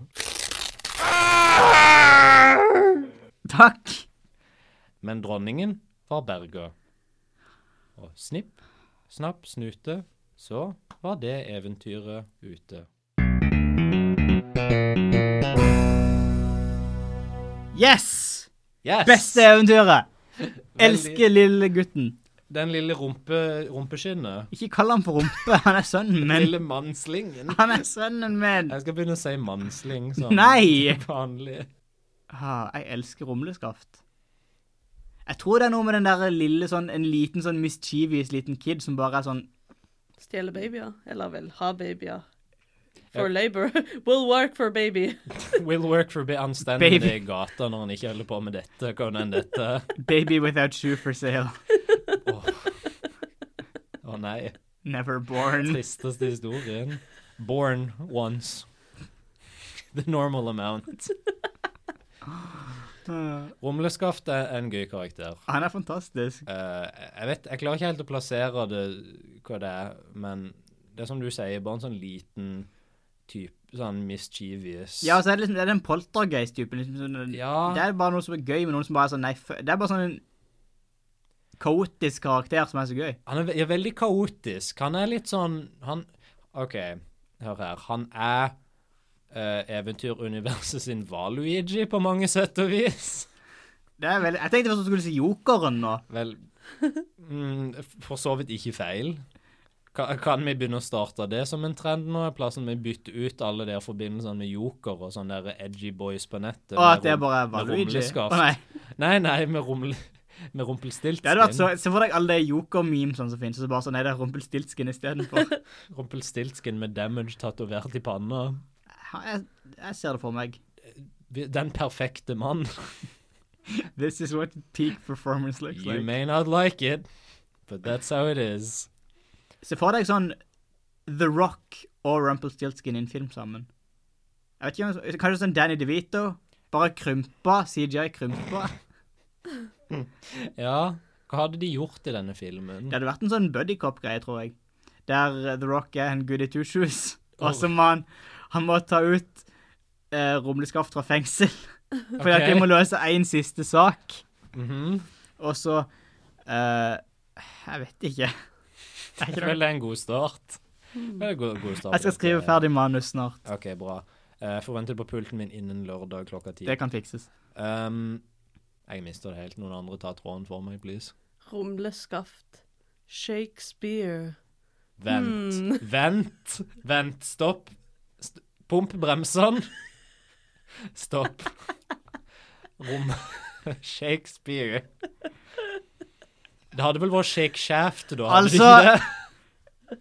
Speaker 3: Takk.
Speaker 2: Men dronningen var berga. Og snipp, snapp, snute, så var det eventyret ute.
Speaker 3: Yes!
Speaker 2: Yes!
Speaker 3: Beste eventyret.
Speaker 2: Veldig-
Speaker 3: Elsker lille gutten.
Speaker 2: Den lille rumpe, rumpeskinnet.
Speaker 3: Ikke kall han for rumpe, han er sønnen
Speaker 2: Den
Speaker 3: min.
Speaker 2: lille mannslingen.
Speaker 3: Han er sønnen min.
Speaker 2: Jeg skal begynne å si mannsling som
Speaker 3: Nei!
Speaker 2: vanlig.
Speaker 3: Ah, jeg elsker rumleskaft. Jeg tror det er noe med den der lille sånn, en liten sånn mischievous liten kid som bare er sånn
Speaker 4: Stjele babyer. Eller vel, ha babyer. For labor. Will work for baby.
Speaker 2: Will work for å bli anstendig
Speaker 3: Baby.
Speaker 2: i gata når han ikke holder på med dette. Hva enn dette.
Speaker 3: baby without shoe for sale.
Speaker 2: Åh. Å nei.
Speaker 3: Never born.
Speaker 2: Tristeste historien. Born once. The normal amount.
Speaker 3: Ah,
Speaker 2: Rumleskaft er en gøy karakter.
Speaker 3: Han er fantastisk.
Speaker 2: Eh, jeg vet, jeg klarer ikke helt å plassere det, hva det er, men det er som du sier, bare en sånn liten type, sånn mischievous.
Speaker 3: Ja, og så er det liksom, det er den poltergeist-typen. Liksom, sånn,
Speaker 2: Ja.
Speaker 3: Det er bare noe som er gøy med noen som bare er sånn Nei, fø- det er bare sånn en kaotisk karakter som er så gøy.
Speaker 2: Han er, ve- er veldig kaotisk. Han er litt sånn Han OK, hør her. Han er eh, eventyruniverset sin Valuigi på mange sett og vis.
Speaker 3: Det er veldig, jeg tenkte først at du skulle si Jokeren nå.
Speaker 2: Vel mm, For så vidt ikke feil. Kan, kan vi begynne å starte det som en trend nå? I plassen vi bytter ut alle de her forbindelsene med Joker og sånne der edgy boys på nettet?
Speaker 3: Og
Speaker 2: med
Speaker 3: at det
Speaker 2: rom-
Speaker 3: bare er
Speaker 2: med
Speaker 3: Valuigi. Å
Speaker 2: rumleskaft.
Speaker 3: nei.
Speaker 2: nei. nei, med, rumle, med rumpelstiltskin.
Speaker 3: Det hadde vært så, Se for deg alle de joker-memesene som finnes, og så bare sånn Nei, det er Rumpelstiltskin istedenfor.
Speaker 2: Rumpelstiltskin med damage tatovert i panna.
Speaker 3: Jeg, jeg ser det for meg.
Speaker 2: Vi- Den perfekte mann.
Speaker 3: This is what peak performance looks
Speaker 2: You
Speaker 3: like.
Speaker 2: may not like it, but that's how it is.
Speaker 3: Se for deg sånn The Rock og Rumpelstiltskin i en film sammen. Jeg vet ikke hvem som- Kanskje sånn Danny DeVito? Bare krympa. CGI krympa.
Speaker 2: Ja, hva hadde de gjort i denne filmen?
Speaker 3: Det hadde vært en sånn buddycop-greie, tror jeg. Der eh, The Rock er en goody two shoes. Og så
Speaker 2: Oh.
Speaker 3: må han, han må ta ut eh, rumleskaft fra fengsel. For
Speaker 2: Ok.
Speaker 3: de må løse én siste sak.
Speaker 2: Mhm.
Speaker 3: Og så eh, Jeg vet ikke. Det er
Speaker 2: Jeg
Speaker 3: ikke noe.
Speaker 2: føler det er en god start. Det er en god, god start.
Speaker 3: Hmm. Jeg skal skrive ferdig manus snart.
Speaker 2: Ok, bra. Eh, Jeg forventer det på pulten min innen lørdag klokka ti.
Speaker 3: Det kan fikses.
Speaker 2: Um, jeg mister det helt. Noen andre tar tråden for meg, please.
Speaker 4: Rumleskaft. Shakespeare.
Speaker 2: Vent,
Speaker 3: Hmm.
Speaker 2: vent, vent, stopp. St pump bremsene. Stopp. Rom Shakespeare. Det hadde vel vært Shake Shaft, da? hadde det
Speaker 3: Altså-
Speaker 2: ikke det?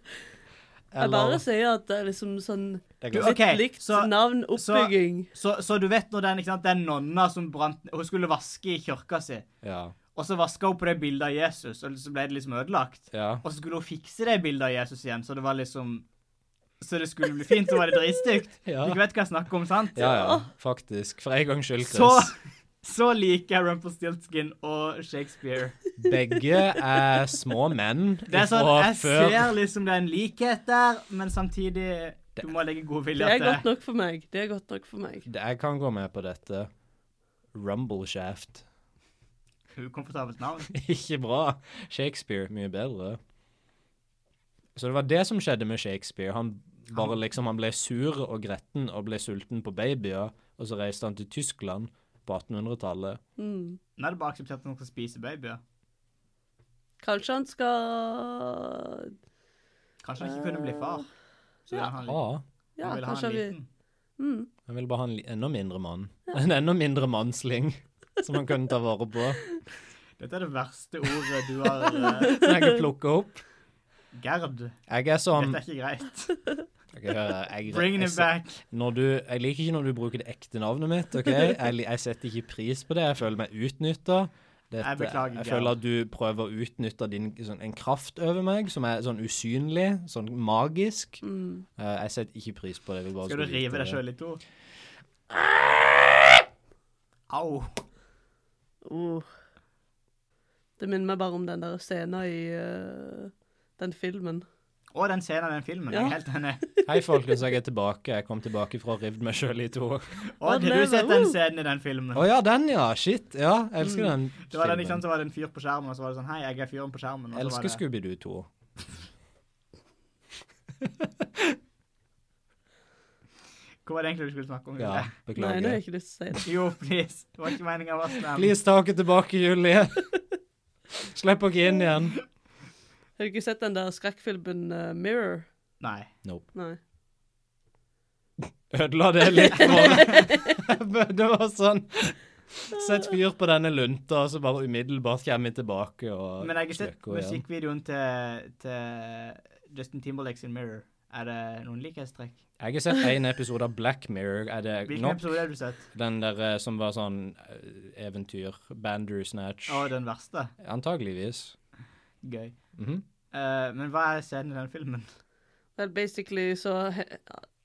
Speaker 4: Jeg bare sier at det er liksom sånn
Speaker 2: Det
Speaker 3: Du,
Speaker 2: kan-
Speaker 3: ok,
Speaker 4: likt
Speaker 3: så-
Speaker 4: navn,
Speaker 3: så-
Speaker 4: oppbygging.
Speaker 3: Så, så du vet når den, ikke sant, den nonna som brant Hun skulle vaske i kirka si,
Speaker 2: ja,
Speaker 3: og så vaska hun på det bildet av Jesus, og så ble det liksom ødelagt.
Speaker 2: ja.
Speaker 3: Og så skulle hun fikse det bildet av Jesus igjen, så det var liksom Så det skulle bli fint, så var det dritstygt.
Speaker 2: Ja.
Speaker 3: Du vet hva jeg snakker om, sant?
Speaker 2: ja, ja, faktisk. For en gangs skyld, Chris.
Speaker 3: Så, så liker jeg Rumpelstiltskin og Shakespeare.
Speaker 2: Begge er små menn
Speaker 3: Det er sånn,
Speaker 2: ifra
Speaker 3: Jeg
Speaker 2: før.
Speaker 3: ser liksom det er en likhet der, men samtidig Du må legge god
Speaker 4: Det
Speaker 3: vilje
Speaker 4: er
Speaker 3: til
Speaker 4: godt nok for meg. Det er godt nok for meg.
Speaker 2: Det- Jeg kan gå med på dette. Rumble Shaft.
Speaker 3: Ukomfortabelt navn.
Speaker 2: Ikke bra. Shakespeare, mye bedre. Så det var det som skjedde med Shakespeare. Han bare liksom, han ble sur og gretten og ble sulten på babyer, og så reiste han til Tyskland på 1800-tallet.
Speaker 4: Mm.
Speaker 3: Nå er det bare akseptert at noen skal spise babyer.
Speaker 4: Kanskje han skal
Speaker 3: Kanskje han ikke kunne bli far. Så
Speaker 4: Eh, Ja.
Speaker 3: han,
Speaker 2: Ja,
Speaker 4: Ja,
Speaker 3: ville ha
Speaker 4: kanskje
Speaker 3: en
Speaker 4: vi
Speaker 3: liten.
Speaker 4: mm.
Speaker 2: han ville bare ha en li- enda mindre mann. En enda mindre mannsling som han kunne ta vare på.
Speaker 3: Dette er det verste ordet du har, eh,
Speaker 2: Som jeg kan plukke opp.
Speaker 3: Gerd.
Speaker 2: Jeg er som
Speaker 3: Dette er ikke greit.
Speaker 2: Ok, hør her, jeg,
Speaker 3: Bring
Speaker 2: jeg,
Speaker 3: it back.
Speaker 2: når du, jeg liker ikke når du bruker det ekte navnet mitt. ok? Jeg, li- jeg setter ikke pris på det. Jeg føler meg utnytta. Dette,
Speaker 3: Jeg beklager,
Speaker 2: Jeg
Speaker 3: Geir.
Speaker 2: føler at du prøver å utnytte din, sånn, en kraft over meg som er sånn usynlig, sånn magisk.
Speaker 4: Mm.
Speaker 2: Eh, jeg setter ikke pris på det. jeg vil bare
Speaker 3: Skal du
Speaker 2: skulle vite
Speaker 3: rive deg
Speaker 2: det.
Speaker 3: sjøl i to? Au.
Speaker 4: Uh. Det minner meg bare om den der scenen i eh, den filmen.
Speaker 3: Og den scenen i den filmen. Jeg
Speaker 4: Ja.
Speaker 3: er helt enig.
Speaker 2: Hei, folkens, jeg er tilbake. Jeg kom tilbake fra å ha revet meg sjøl i to. Å
Speaker 3: Og har du
Speaker 4: lever,
Speaker 3: sett den
Speaker 4: woo!
Speaker 3: scenen i den filmen?
Speaker 2: ja, den, ja. Shit. Ja, jeg elsker den.
Speaker 3: Mm. Det var den,
Speaker 2: filmen.
Speaker 3: ikke sant, så var det en fyr på skjermen, og så var det sånn Hei, jeg er fyren på skjermen.
Speaker 2: Jeg
Speaker 3: Og
Speaker 2: elsker
Speaker 3: så var det,
Speaker 2: Scooby-Doo 2.
Speaker 3: hva var det egentlig du skulle snakke om?
Speaker 2: Ja,
Speaker 3: Julie?
Speaker 4: Nei, nå har
Speaker 2: beklager.
Speaker 4: jeg ikke lyst til å si det.
Speaker 3: Jo, please. Det var ikke meninga å være snill.
Speaker 2: Please, ta henne tilbake, Julie. Slipp henne inn igjen.
Speaker 4: Har du ikke sett den der skrekkfilmen eh, Mirror?
Speaker 3: Nei.
Speaker 4: Nei.
Speaker 2: Ødela det litt for Men Det var sånn Sett fyr på denne lunta, og så bare umiddelbart kommer vi tilbake og
Speaker 3: Men jeg har sett
Speaker 2: søker igjen.
Speaker 3: musikkvideoen til, til Justin Timberlake sin Mirror. Er det noen likhetstrekk?
Speaker 2: Jeg har sett en episode av Black Mirror. Er det
Speaker 3: Hvilken
Speaker 2: nok?
Speaker 3: episode har du sett?
Speaker 2: Den der eh, som var sånn eh, eventyr. Bandersnatch.
Speaker 3: Å, den verste.
Speaker 2: Antageligvis.
Speaker 3: Gøy.
Speaker 2: Mhm.
Speaker 3: Eh, men hva er scenen i den filmen?
Speaker 4: Well, basically så he-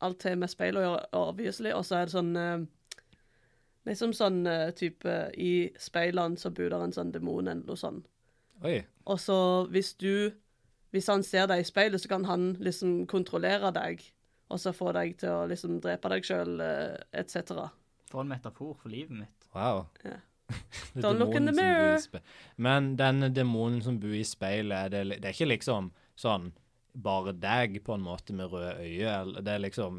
Speaker 4: alt har med speil å gjøre, obviously, og så er det sånn eh, Liksom sånn eh, type I speilene så bor det en sånn demon eller noe sånn.
Speaker 2: Oi.
Speaker 4: Og så hvis du Hvis han ser deg i speilet, så kan han liksom kontrollere deg, og så få deg til å liksom drepe deg eh, sjøl, etc.
Speaker 3: For en metafor for livet mitt.
Speaker 2: Wow.
Speaker 4: Ja.
Speaker 2: Det er
Speaker 4: Don't look
Speaker 2: demonen
Speaker 4: in
Speaker 2: som
Speaker 4: the
Speaker 2: bor i
Speaker 4: mirror.
Speaker 2: spe- Men denne demonen som bor i speilet, er det, li- det er ikke liksom sånn bare deg på en måte med røde øyne. eller- Det er liksom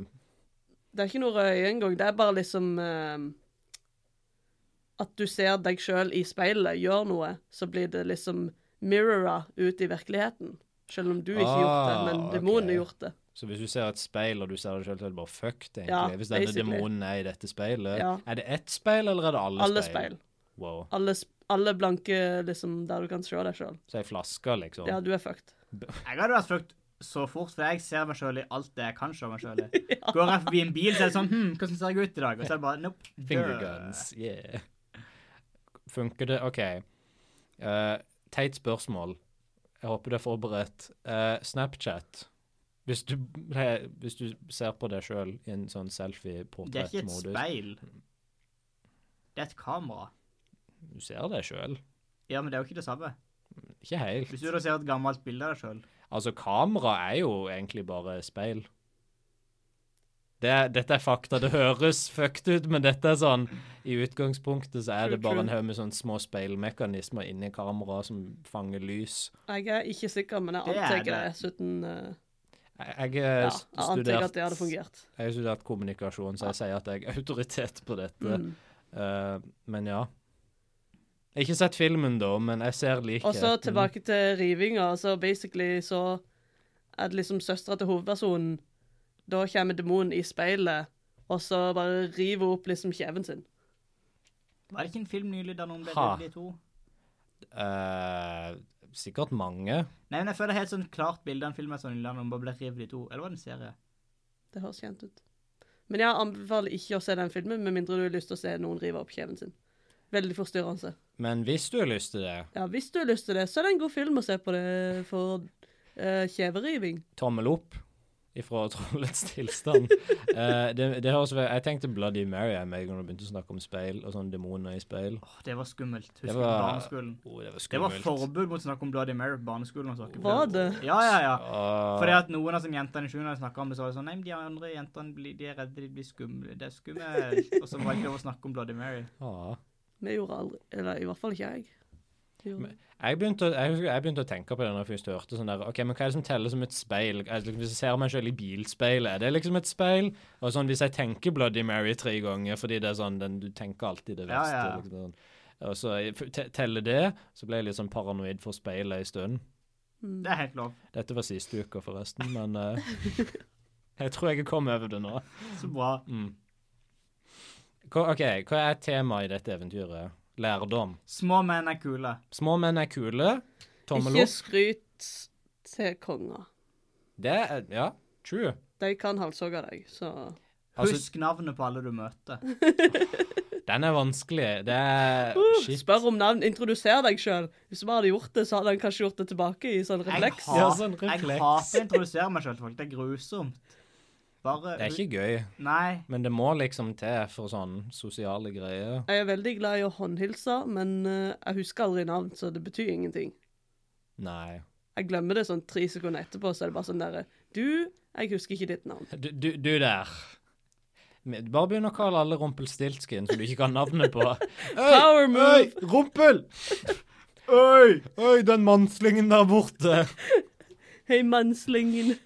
Speaker 4: Det er ikke noe røye engang. Det er bare liksom eh, At du ser deg sjøl i speilet, gjør noe, så blir det liksom mirrora ut i virkeligheten. Selv om du ikke har gjort det,
Speaker 2: Ah,
Speaker 4: men
Speaker 2: ok.
Speaker 4: demonen har gjort det.
Speaker 2: Så hvis du ser et speil, og du ser deg sjøl, så er det bare fuck, det, egentlig.
Speaker 4: Ja,
Speaker 2: hvis denne
Speaker 4: basically.
Speaker 2: demonen er i dette speilet.
Speaker 4: Ja.
Speaker 2: Er det ett speil, eller er det alle,
Speaker 4: Alle speil.
Speaker 2: Wow.
Speaker 4: Alle, sp- alle blanke liksom der du kan se deg sjøl.
Speaker 2: Så ei flaske, liksom.
Speaker 4: Ja, du er fucked.
Speaker 3: Jeg hadde vært flukt så fort, for jeg ser meg sjøl i alt det jeg kan se meg sjøl i. Går jeg forbi en bil, så er det sånn Hm, hvordan ser jeg ut i dag? Og så er det bare Nope. død.
Speaker 2: Finger guns, yeah. Funker det? OK. Eh, teit spørsmål. Jeg håper du er forberedt. Eh, Snapchat. Hvis du, he- hvis du ser på deg sjøl i en sånn
Speaker 3: Det er ikke et
Speaker 2: selfie-portrettmodus
Speaker 3: speil. Det er et kamera.
Speaker 2: Du ser deg sjøl.
Speaker 3: Ja, men det er jo ikke det samme.
Speaker 2: Ikke helt.
Speaker 3: Hvis du da ser et gammelt bilde av deg sjøl
Speaker 2: Altså, kamera er jo egentlig bare speil. Det, er- dette er fakta. Det høres fucked ut, men dette er sånn I utgangspunktet så er
Speaker 4: True,
Speaker 2: det bare
Speaker 4: true.
Speaker 2: en haug med sånne små speilmekanismer inni kameraet som fanger lys.
Speaker 4: Jeg er ikke sikker, men jeg
Speaker 3: Det er
Speaker 4: antar
Speaker 3: det.
Speaker 4: det. Dessuten eh,
Speaker 2: Jeg, jeg, har
Speaker 4: ja,
Speaker 2: st-
Speaker 4: jeg antar at det hadde
Speaker 2: studert,
Speaker 4: fungert.
Speaker 2: jeg har studert kommunikasjon, så jeg sier at jeg er autoritet på dette.
Speaker 4: Mm.
Speaker 2: Eh, men ja. Jeg har ikke sett filmen, da, men jeg ser likheten.
Speaker 4: Og så tilbake til rivinga. Så basically så er det liksom søstera til hovedpersonen. Da kommer demonen i speilet, og så bare river hun opp liksom kjeven sin.
Speaker 3: Var det ikke en film nylig der noen ble
Speaker 2: Ha.
Speaker 3: død, de to?
Speaker 2: Eh, sikkert mange.
Speaker 3: Nei, men jeg føler helt sånn klart bilde av en film er sånn der noen bare ble revet i to. Eller var det en serie?
Speaker 4: Det høres kjent ut. Men jeg anbefaler ikke å se den filmen, med mindre du har lyst til å se noen rive opp kjeven sin. Veldig forstyrrende.
Speaker 2: Men hvis du har lyst til det,
Speaker 4: Ja, Hvis du har lyst til det, så er det en god film å se på det for eh, kjeveriving.
Speaker 2: tommel opp ifra trollets tilstand. Eh, det, det høres vel- Jeg tenkte Bloody Mary jeg, med en gang du begynte å snakke om speil og sånne demoner i speil.
Speaker 3: Åh, det var skummelt. Husker du
Speaker 2: var-
Speaker 3: barneskolen?
Speaker 2: Oh, det var
Speaker 3: Det var
Speaker 2: skummelt.
Speaker 3: forbud mot å snakke om Bloody Mary på barneskolen. og sånn.
Speaker 4: Var det?
Speaker 3: Ja, ja, ja.
Speaker 2: Ah,
Speaker 3: Fordi at noen av sånne jentene i sjuende snakka om det, så var det sånn Nei, men de andre jentene blir, de er redde de blir skumle. Det er skummelt. Og så var det ikke lov å snakke om Bloody Mary.
Speaker 2: ah.
Speaker 4: Vi gjorde aldri Eller i hvert fall ikke jeg. Gjorde det.
Speaker 2: Jeg begynte, å- jeg, husker jeg begynte å tenke på det når jeg først hørte sånn der OK, men hva er det som teller som et speil? Jeg, liksom, hvis jeg ser meg selv i bilspeilet, er det liksom et speil? Og sånn hvis jeg tenker Bloody Mary tre ganger, fordi det er sånn den, du tenker alltid det
Speaker 3: Ja,
Speaker 2: verste.
Speaker 3: ja.
Speaker 2: Liksom, sånn. Og så jeg f- te- teller det, så ble jeg litt sånn paranoid for speilet en stund.
Speaker 3: Det er helt lov.
Speaker 2: Dette var siste uka, forresten, men eh, Jeg tror jeg kom over det nå.
Speaker 3: Så bra.
Speaker 2: Mm. Hva, OK, hva er temaet i dette eventyret? Lærdom.
Speaker 3: Små menn er kule.
Speaker 2: Små menn er kule. Tommel
Speaker 4: Ikke
Speaker 2: opp.
Speaker 4: skryt til konger.
Speaker 2: Det er Ja, true.
Speaker 4: De kan halshogge deg, så
Speaker 2: Altså-
Speaker 3: Husk navnet på alle du møter.
Speaker 2: Den er vanskelig. Det er
Speaker 4: Uh,
Speaker 2: shit.
Speaker 4: spør om navn. Introduser deg sjøl. Hvis du bare hadde gjort det, så hadde han kanskje gjort det tilbake i sånn
Speaker 3: Jeg,
Speaker 4: refleks.
Speaker 3: ha,
Speaker 2: Ja, sånn
Speaker 3: jeg
Speaker 2: refleks.
Speaker 3: hater å introdusere meg sjøl til folk. Det er grusomt. Bare
Speaker 2: Det er ikke gøy,
Speaker 3: Nei.
Speaker 2: men det må liksom til for sånne sosiale greier.
Speaker 4: Jeg er veldig glad i å håndhilse, men eh, jeg husker aldri navn, så det betyr ingenting.
Speaker 2: Nei.
Speaker 4: Jeg glemmer det sånn tre sekunder etterpå, så er det bare sånn derre Du, jeg husker ikke ditt navn.
Speaker 2: Du, du, du der. Men Bare begynn å kalle alle Rumpelstiltskin som du ikke kan navnet på.
Speaker 4: Power move!
Speaker 2: Rumpel! Oi! Oi, den mannslingen der borte.
Speaker 4: Hei, mannslingen.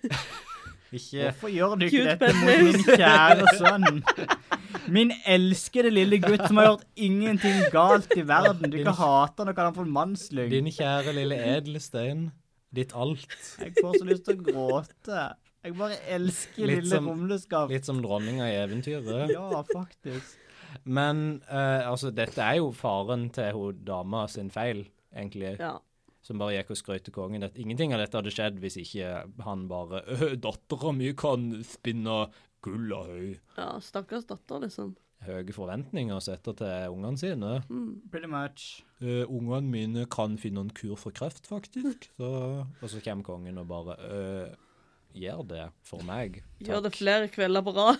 Speaker 2: Ikke
Speaker 3: Hvorfor gjør du ikke
Speaker 4: Cute
Speaker 3: dette mot min kjære sønn? Min elskede lille gutt som har gjort ingenting galt i verden. Du kan hate han og kalle han for en mannslyng.
Speaker 2: din kjære lille edelstein. Ditt alt.
Speaker 3: Jeg får så lyst til å gråte. Jeg bare elsker
Speaker 2: Litt
Speaker 3: lille
Speaker 2: som-
Speaker 3: rumleskaft.
Speaker 2: Litt som dronninga i eventyret.
Speaker 3: Ja, faktisk.
Speaker 2: Men eh, altså, dette er jo faren til hun dama sin feil, egentlig.
Speaker 4: Ja.
Speaker 2: Som bare gikk og skrøt til kongen. At ingenting av dette hadde skjedd hvis ikke han bare «Øh, 'Dattera mi kan spinne gull av høy'.
Speaker 4: ja. Stakkars datter, liksom.
Speaker 2: Høye forventninger å sette til ungene sine.
Speaker 3: Pretty much.
Speaker 2: Eh, ungene mine kan finne en kur for kreft, faktisk. Så, og så kommer kongen og bare «Øh, Gjør det for meg.
Speaker 4: Gjør det
Speaker 2: Takk.
Speaker 4: flere kvelder på rad.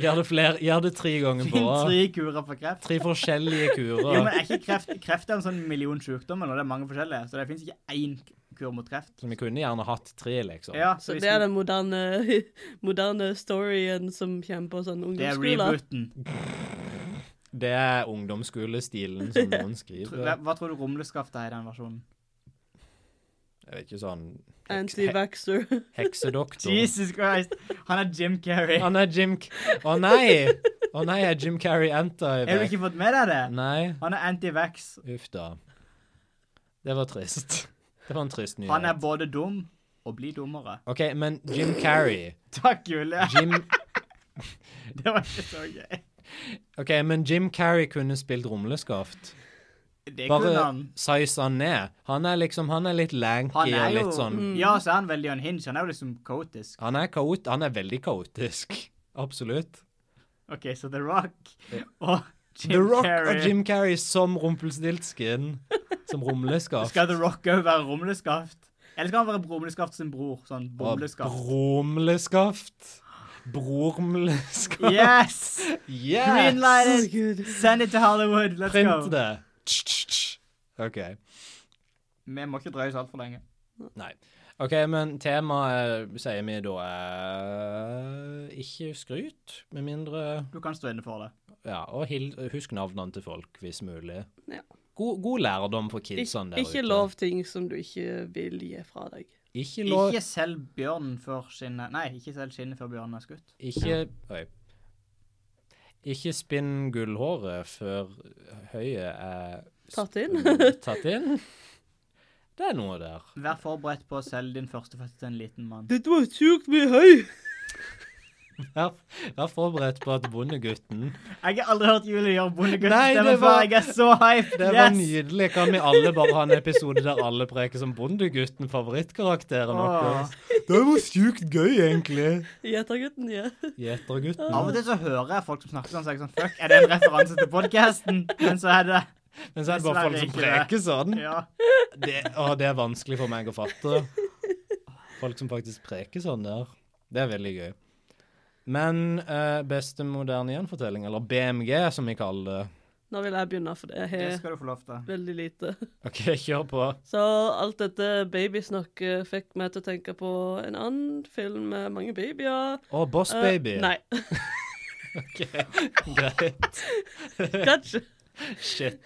Speaker 2: Gjør det, flere, gjør det tre ganger på
Speaker 3: Finn
Speaker 2: rad.
Speaker 3: tre kurer for kreft.
Speaker 2: Tre forskjellige
Speaker 3: Jo, men
Speaker 2: kurer
Speaker 3: er ikke kreft, kreft er en sånn million sykdommer, og det er mange forskjellige, så det finnes ikke én kur mot kreft.
Speaker 2: som vi kunne gjerne hatt tre, liksom.
Speaker 3: Ja, så
Speaker 4: Så
Speaker 3: hvis
Speaker 4: det er
Speaker 3: du-
Speaker 4: den moderne, moderne storyen som kommer på sånn
Speaker 3: det er
Speaker 4: ungdomsskoler.
Speaker 3: rebooten.
Speaker 2: Det er ungdomsskolestilen som noen
Speaker 3: Tro-
Speaker 2: skriver.
Speaker 3: Hva tror du rumleskaftet er i den versjonen?
Speaker 2: Jeg vet ikke sånn heks, he,
Speaker 4: Anti-vaxxer.
Speaker 2: Heksedoktor.
Speaker 3: Jesus Christ! Han er Jim Carrey.
Speaker 2: Han er Jim K- Å nei! Å nei, er Jim Carrey
Speaker 3: Har du
Speaker 2: anti-vax?
Speaker 3: ikke fått med deg det?
Speaker 2: Nei.
Speaker 3: Han er anti-vax.
Speaker 2: Uff da. Det var trist. Det var en trist nyhet.
Speaker 3: Han er både dum og blir dummere.
Speaker 2: OK, men Jim Carrey
Speaker 3: Takk, Julie.
Speaker 2: Jim,
Speaker 3: Det var ikke så gøy.
Speaker 2: OK, men Jim Carrey kunne spilt rumleskaft.
Speaker 3: Det kunne
Speaker 2: Bare
Speaker 3: han.
Speaker 2: size han ned. Han er liksom Han er litt
Speaker 3: Han
Speaker 2: lanky
Speaker 3: er
Speaker 2: og
Speaker 3: jo
Speaker 2: litt sånn
Speaker 3: Ja, så er han veldig unhinged. Han er jo liksom kaotisk.
Speaker 2: Han er kaot... Han er veldig kaotisk. Absolutt.
Speaker 3: OK, så The Rock og Jim
Speaker 2: The Rock
Speaker 3: Carrey.
Speaker 2: og Jim Carrey som rumpelstiltskin. Som rumleskaft.
Speaker 3: Skal The Rock òg være rumleskaft? Eller skal han være rumleskaft sin bror? Sånn brumleskaft.
Speaker 2: Bromleskaft. Bromleskaft.
Speaker 3: Yes!
Speaker 2: Yes!
Speaker 3: Greenlighted!
Speaker 4: Herregud.
Speaker 3: Send it to Hollywood! Let's
Speaker 2: Print
Speaker 3: go!
Speaker 2: det. Tsk, tsk, tsk. OK.
Speaker 3: Vi må ikke drøye oss altfor lenge.
Speaker 2: Nei. OK, men temaet sier vi da er ikke skryt, med mindre
Speaker 3: Du kan stå inne for det.
Speaker 2: Ja, og hil- husk navnene til folk, hvis mulig.
Speaker 4: Ja.
Speaker 2: God, god lærdom for
Speaker 4: Ik
Speaker 2: kidsene Sånn der
Speaker 4: ikke
Speaker 2: ute.
Speaker 4: lov ting som du ikke vil gi fra deg.
Speaker 2: Ikke lov.
Speaker 3: Ikke selg bjørnen før skinnet Nei, ikke selg skinnet før bjørnen er skutt.
Speaker 2: Ikke Oi. Ikke spinn gullhåret før høyet er
Speaker 4: Tatt inn.
Speaker 2: tatt inn. Det er noe der.
Speaker 3: Vær forberedt på å selge din førstefødte til en liten mann.
Speaker 4: Dette var sjukt mye høy.
Speaker 2: Vær, vær forberedt på at bondegutten
Speaker 3: Jeg har aldri hørt Julie gjøre
Speaker 2: Nei, det
Speaker 3: bondeguttstemme før.
Speaker 2: var-
Speaker 3: Jeg er så hyped!
Speaker 2: Det var
Speaker 3: Yes!
Speaker 2: nydelig. Kan vi alle bare ha en episode der alle preker som bondegutten, favorittkarakteren
Speaker 3: Åh.
Speaker 2: vår? Det var sjukt gøy, egentlig.
Speaker 4: Gjetergutten, ja.
Speaker 2: Gjetergutten.
Speaker 3: Av og til så hører jeg folk som snakker sånn, så er jeg sånn Fuck, er det en referanse til podkasten? Men så er det
Speaker 2: Men så er det bare folk som
Speaker 3: Dessverre ikke
Speaker 2: preker sånn.
Speaker 3: Ja.
Speaker 2: Det, å, det er vanskelig for meg å fatte. Folk som faktisk preker sånn der. Det er veldig gøy. Men eh, beste moderne gjenfortelling, eller BMG som vi kaller det.
Speaker 4: Nå vil jeg begynne, for det
Speaker 3: Det
Speaker 4: har
Speaker 3: skal du få lov til.
Speaker 4: veldig lite.
Speaker 2: OK, kjør på.
Speaker 4: Så alt dette babysnakket fikk meg til å tenke på en annen film med mange babyer.
Speaker 2: Å, Boss
Speaker 4: Eh,
Speaker 2: Baby.
Speaker 4: nei,
Speaker 2: OK, greit.
Speaker 4: kanskje.
Speaker 2: Shit.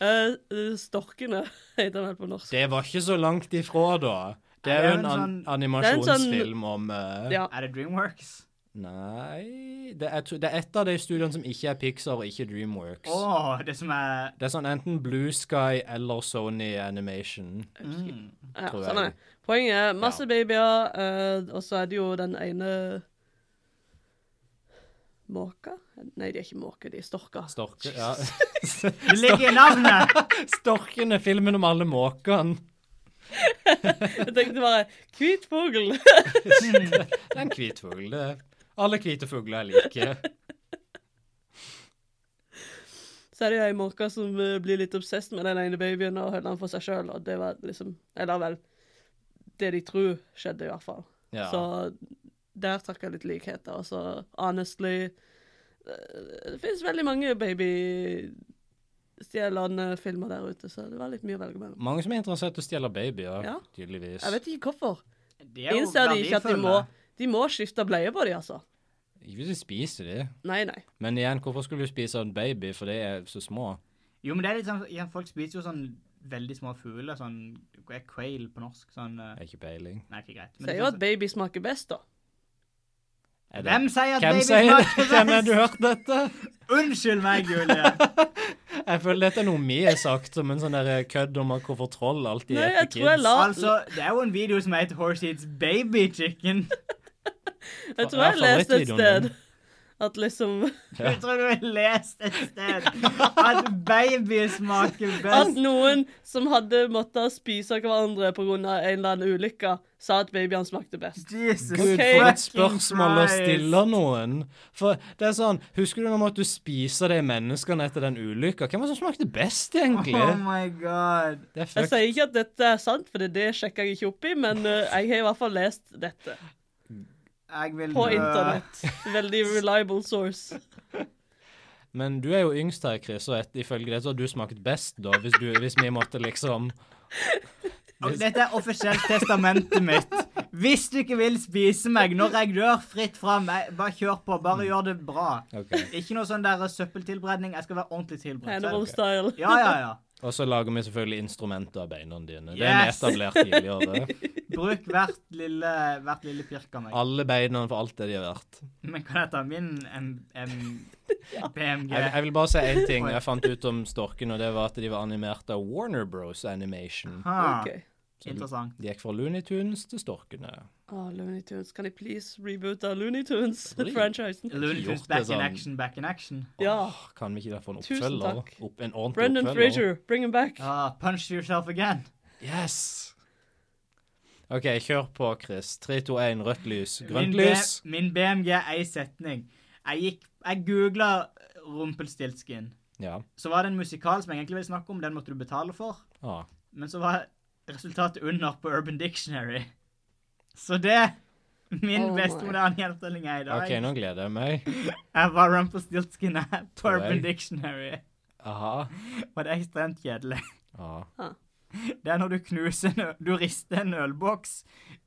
Speaker 4: Eh, eh, Storkene heter den vel på norsk.
Speaker 2: Det var ikke så langt ifra, da. Det
Speaker 3: Er
Speaker 2: er
Speaker 3: det
Speaker 2: jo en
Speaker 3: en
Speaker 2: an
Speaker 3: sånn-
Speaker 2: animasjonsfilm om eh,
Speaker 4: Ja.
Speaker 3: Er det Dreamworks?
Speaker 2: Nei det er, to- det er et av de studioene som ikke er Pixar og ikke Dreamworks.
Speaker 3: Å, det som er
Speaker 2: Det er sånn enten Blue Sky eller Sony Animation.
Speaker 3: mm.
Speaker 4: Ja,
Speaker 2: tror
Speaker 4: sånn er
Speaker 2: jeg.
Speaker 4: det. Poenget er masse babyer, eh, og så er det jo den ene Måka? Nei, de er ikke måker, de er storker.
Speaker 2: Storke, ja.
Speaker 3: Det ligger i navnet!
Speaker 2: Storkene, filmen om alle måkene.
Speaker 4: Jeg tenkte bare Hvit fugl!
Speaker 2: Det er en hvit fugl. det er- Alle hvite fugler er like.
Speaker 4: Så er det jo ei måke som eh, blir litt obsessed med den ene babyen og holder den for seg sjøl, og det var liksom Eller vel Det de tror skjedde, i hvert fall.
Speaker 2: Ja.
Speaker 4: Så der trakk jeg litt likheter. Og så honestly eh, Det finnes veldig mange babystjelende filmer der ute, så det var litt mye å velge mellom.
Speaker 2: Mange som er interessert i å stjele babyer,
Speaker 4: Ja.
Speaker 2: tydeligvis.
Speaker 4: Jeg vet ikke hvorfor.
Speaker 3: De er jo
Speaker 4: Innser de ikke at de
Speaker 3: verdifulle.
Speaker 4: må De må skifte bleie på de, altså.
Speaker 2: Ikke hvis de spiser de.
Speaker 4: Nei, nei.
Speaker 2: Men igjen, hvorfor skulle du spise en baby, for de er så små?
Speaker 3: Jo, men det er litt sånn ja, Folk spiser jo sånn veldig små fugler. Sånn hva er quail på norsk? Sånn eh,
Speaker 2: Det er ikke peiling.
Speaker 3: Nei, ikke greit. men
Speaker 4: Sier
Speaker 3: det
Speaker 4: jo
Speaker 3: er
Speaker 4: at baby smaker best, da.
Speaker 2: Er det-
Speaker 3: Hvem sier at
Speaker 2: Hvem
Speaker 3: baby
Speaker 2: sier det?
Speaker 3: smaker
Speaker 2: Hvem har
Speaker 3: best?
Speaker 2: du hørt dette?
Speaker 3: Unnskyld meg, Julie.
Speaker 2: Jeg føler dette er noe vi har sagt, som en sånn der kødd om at hvorfor troll alltid
Speaker 4: Nei,
Speaker 2: heter
Speaker 4: jeg tror jeg
Speaker 2: kids.
Speaker 4: la
Speaker 3: altså, det er jo en video som heter Horse Eats Baby Chicken.
Speaker 4: Jeg tror
Speaker 2: Ja,
Speaker 4: jeg leste et
Speaker 2: favorittvideoen
Speaker 4: sted at liksom
Speaker 3: Jeg tror du har lest et sted at baby smaker
Speaker 4: At
Speaker 3: best.
Speaker 4: noen som hadde måttet spise hverandre pga. en eller annen ulykke, sa at babyene smakte best.
Speaker 3: Jesus
Speaker 2: Gud,
Speaker 4: Okay.
Speaker 2: for et
Speaker 3: fucking
Speaker 2: spørsmål å
Speaker 3: Christ.
Speaker 2: stille noen. For det er sånn, Husker du når du måtte spise de menneskene etter den ulykka? Hvem var det som smakte best, egentlig?
Speaker 3: Oh my god.
Speaker 2: Det er
Speaker 4: Jeg
Speaker 2: fuck.
Speaker 4: sier ikke at dette er sant, for det sjekker jeg ikke opp i, men eh, jeg har i hvert fall lest dette
Speaker 3: Jeg vil
Speaker 4: på
Speaker 3: dø.
Speaker 4: internett. Veldig reliable source.
Speaker 2: Men du er jo yngst her, Chris, og et, ifølge det så har du smakt best, da, hvis, du, hvis vi måtte liksom
Speaker 3: Og Dette er offisielt testamentet mitt. Hvis du ikke vil spise meg når jeg dør, fritt fram. Jeg- Bare kjør på.
Speaker 2: Mm.
Speaker 3: Bare gjør det bra.
Speaker 2: OK.
Speaker 3: Ikke noe sånn der søppeltilberedning. Jeg skal være ordentlig tilberedt.
Speaker 4: Hannibal style.
Speaker 3: Ja, ja, ja.
Speaker 2: Og så lager vi selvfølgelig instrumenter av beina dine. Det er vi
Speaker 3: Yes.
Speaker 2: etablert tidligere.
Speaker 3: Bruk hvert lille, hvert lille pirk av meg.
Speaker 2: Alle beina for alt det de er verdt.
Speaker 3: Men kan jeg ta min M M BMG?
Speaker 2: Jeg, jeg vil bare si én ting jeg fant ut om storken, og det var at de var animert av Warner Bros. Animation.
Speaker 3: Ha,
Speaker 4: OK.
Speaker 3: Ah, Interessant.
Speaker 2: De gikk fra Looney Tunes til Storkene.
Speaker 4: Oh, Looney Tunes. Kan de please reboote Looney Tunes?
Speaker 2: Oi.
Speaker 4: Franchisen.
Speaker 3: Looney Tunes
Speaker 2: gjort det
Speaker 3: back in
Speaker 2: sånn.
Speaker 3: action, back in action.
Speaker 4: Ja.
Speaker 2: Åh, kan vi ikke da få en
Speaker 4: Tusen
Speaker 2: oppfølger?
Speaker 4: takk.
Speaker 2: Opp, en ordentlig
Speaker 4: Brendan
Speaker 2: oppfølger?
Speaker 4: Frazier, bring him back.
Speaker 3: Ah, punch yourself again.
Speaker 2: Yes! OK, kjør på, Chris. 3, 2, 1, rødt lys.
Speaker 3: Min,
Speaker 2: Grønt lys.
Speaker 3: B- min BMG er ei setning. Jeg gikk Jeg googla Rumpelstiltskin.
Speaker 2: Ja.
Speaker 3: Så var det en musikal som jeg egentlig ville snakke om, den måtte du betale for.
Speaker 2: Ah.
Speaker 3: Men så var resultatet under på Urban Dictionary. Så det Min
Speaker 4: Oh
Speaker 3: beste
Speaker 4: my.
Speaker 3: moderne gjenfortelling er i dag.
Speaker 2: OK, nå gleder jeg meg.
Speaker 3: Jeg var Rumpelstiltskin er på
Speaker 2: Tror jeg.
Speaker 3: Urban Dictionary.
Speaker 2: Aha.
Speaker 3: Og det er ekstremt kjedelig.
Speaker 2: Ah.
Speaker 3: Det er når du knuser en ø- Du rister en ølboks,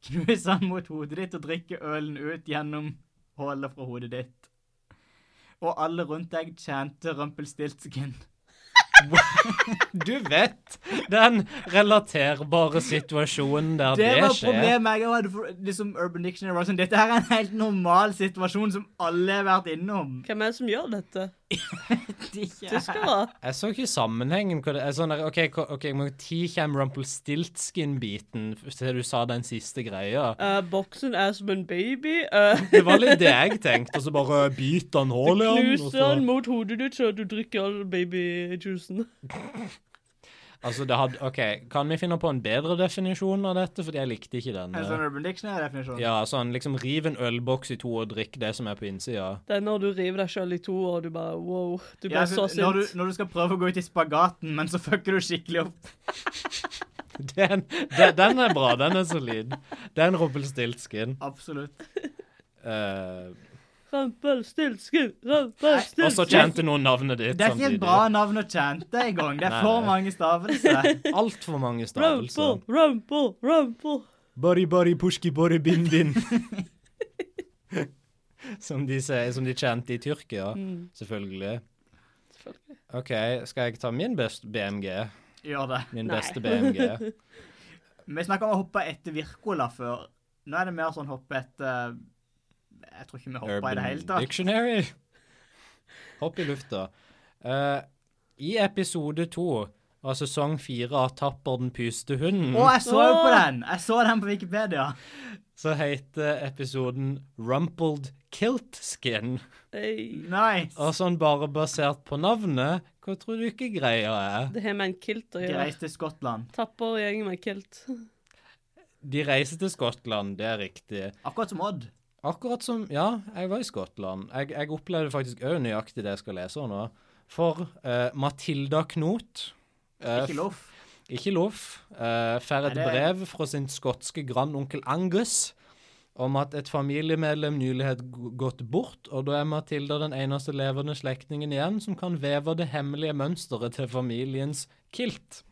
Speaker 3: knuser den mot hodet ditt og drikker ølen ut gjennom hullet fra hodet ditt. Og alle rundt deg tjente Rumpelstiltskin.
Speaker 2: Du vet den relaterbare situasjonen der
Speaker 3: Det
Speaker 2: det,
Speaker 3: var
Speaker 2: skjer.
Speaker 3: problemet jeg hadde for liksom Urban Dictionary. var Sånn, Dette her er en helt normal situasjon som alle har vært innom.
Speaker 4: Hvem er det som gjør dette?
Speaker 3: Tyskere.
Speaker 4: Tyskere?
Speaker 2: Jeg så ikke sammenhengen. Hva det er sånn der, OK, hva- ok, hvor tid kommer Rumpelstiltskin-biten til du sa den siste greia?
Speaker 4: Eh, boksen er som en baby. eh,
Speaker 2: Det var litt det jeg tenkte, og så bare biter han
Speaker 4: Du
Speaker 2: hålet i
Speaker 3: altså.
Speaker 2: han. og
Speaker 4: knuser
Speaker 2: så-
Speaker 4: den mot hodet ditt, så du drikker all babyjuicen.
Speaker 2: Altså, det hadde OK, kan vi finne på en bedre definisjon av dette? Fordi jeg likte ikke den. eh,
Speaker 3: En sånn Urban Dictionary-definisjon.
Speaker 2: Ja, sånn liksom riv en ølboks i to og drikk det som er på innsida.
Speaker 4: Det er når du river deg sjøl i to, og du bare wow. Du blir
Speaker 3: Ja, altså,
Speaker 4: så
Speaker 3: når,
Speaker 4: sint.
Speaker 3: du, når du skal prøve å gå ut i spagaten, men så fucker du skikkelig opp.
Speaker 2: Den, den, den er bra. Den er solid. Den Rumpelstiltskin.
Speaker 3: Absolutt.
Speaker 2: Uh,
Speaker 4: Rumpelstiltskin,
Speaker 2: og
Speaker 3: altså,
Speaker 2: så
Speaker 4: rumpelstiltskin.
Speaker 2: tjente noen navnet ditt
Speaker 3: Det er ikke et bra
Speaker 2: samtidig.
Speaker 3: navn å chante i gang. Det er
Speaker 2: Nei,
Speaker 3: for
Speaker 2: nei.
Speaker 3: mange stavelser.
Speaker 2: Altfor mange stavelser.
Speaker 3: altså.
Speaker 4: Rumple, rumple, rumple.
Speaker 2: Buddy, buddy, pushki, buddy, bin, bin. som, de sier, som de kjente i Tyrkia,
Speaker 3: Mm.
Speaker 2: selvfølgelig.
Speaker 4: Selvfølgelig.
Speaker 2: OK, skal jeg ta min best BMG?
Speaker 3: Gjør det.
Speaker 2: Min
Speaker 4: Nei.
Speaker 2: beste BMG.
Speaker 3: Vi snakka om å hoppe etter Virkola før. Nå er det mer sånn hoppe etter Jeg tror ikke vi hoppa i det hele tatt.
Speaker 2: Dictionary. Hopp i lufta. Eh, I episode to av sesong fire av Tapper den pyste hunden,
Speaker 3: Å, jeg så jo på
Speaker 4: Åh!
Speaker 3: den! Jeg så den på Wikipedia.
Speaker 2: så heter episoden Rumpled Kilt Skin.
Speaker 4: Hey.
Speaker 3: Nice.
Speaker 2: Og sånn bare basert på navnet, hva tror du ikke greia er?
Speaker 4: Det har med en kilt å
Speaker 3: De
Speaker 4: gjøre.
Speaker 3: reiste til Skottland.
Speaker 4: Tapper gjengen med kilt.
Speaker 2: De reiser til Skottland, det er riktig.
Speaker 3: Akkurat som Odd.
Speaker 2: Akkurat som Ja, jeg var i Skottland. Jeg, jeg opplevde faktisk òg nøyaktig det jeg skal lese nå. for eh, Matilda Knot. eh,
Speaker 3: Ikke lov.
Speaker 2: Ikke lov. Eh, får et
Speaker 3: Nei, det-
Speaker 2: brev fra sin skotske grandonkel Angus om at et familiemedlem nylig har g- gått bort, og da er Matilda den eneste levende slektningen igjen som kan veve det hemmelige mønsteret til familiens kilt.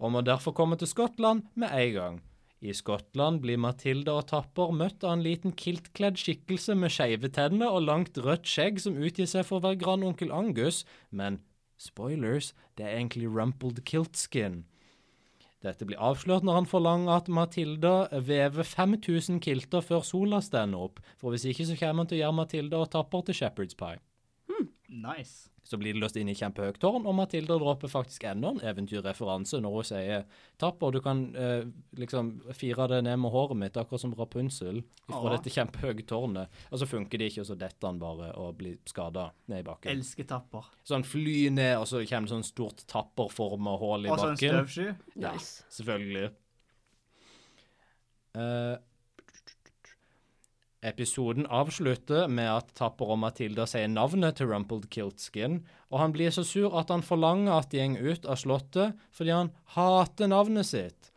Speaker 2: Og må derfor komme til Skottland med en gang. I Skottland blir Matilda og Tapper møtt av en liten kiltkledd skikkelse med skeive tenner og langt rødt skjegg som utgir seg for å være grandonkel Angus, men spoilers, det er egentlig rumpled kiltskin. Dette blir avslørt når han forlanger at Matilda vever 5000 kilter før sola stender opp, for hvis ikke så kommer han til å gjøre Matilda og Tapper til Shepherd's Pie.
Speaker 3: Nice.
Speaker 2: Så blir de løst inn i kjempehøyt tårn, og Matilda dropper faktisk enda en eventyrreferanse når hun sier 'Tapper, du kan eh, liksom fire det ned med håret mitt, akkurat som Rapunzel, fra
Speaker 3: Åh.
Speaker 2: dette kjempehøye tårnet', og så funker det ikke, og så detter han bare og blir skada ned i bakken.
Speaker 3: Elsker tapper.
Speaker 2: Så han flyr ned, og så kommer det sånn stort tapperforma hull i
Speaker 3: Og så en
Speaker 2: bakken.
Speaker 3: støvsky.
Speaker 2: Ja,
Speaker 4: Nice.
Speaker 2: Selvfølgelig. Eh, episoden avslutter med at Tapper og Matilda sier navnet til Rumpled Kiltskin, og han blir så sur at han forlanger at de går ut av slottet fordi han hater navnet sitt.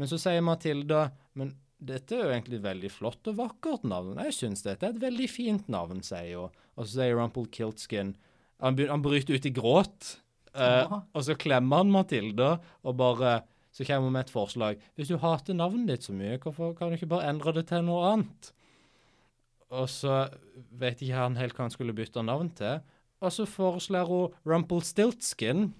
Speaker 2: Men så sier Matilda men dette er jo egentlig et veldig flott og vakkert navn. Jeg syns dette er et veldig fint navn, sier hun. Og så sier Rumpled Kiltskin han, begyn- han bryter ut i gråt, eh,
Speaker 3: Åh.
Speaker 2: og så klemmer han Matilda og bare Så kommer hun med et forslag. Hvis du hater navnet ditt så mye, hvorfor kan du ikke bare endre det til noe annet? Og så vet ikke han helt hva han skulle bytte navn til. Og så foreslår hun Rumpled Stiltskin.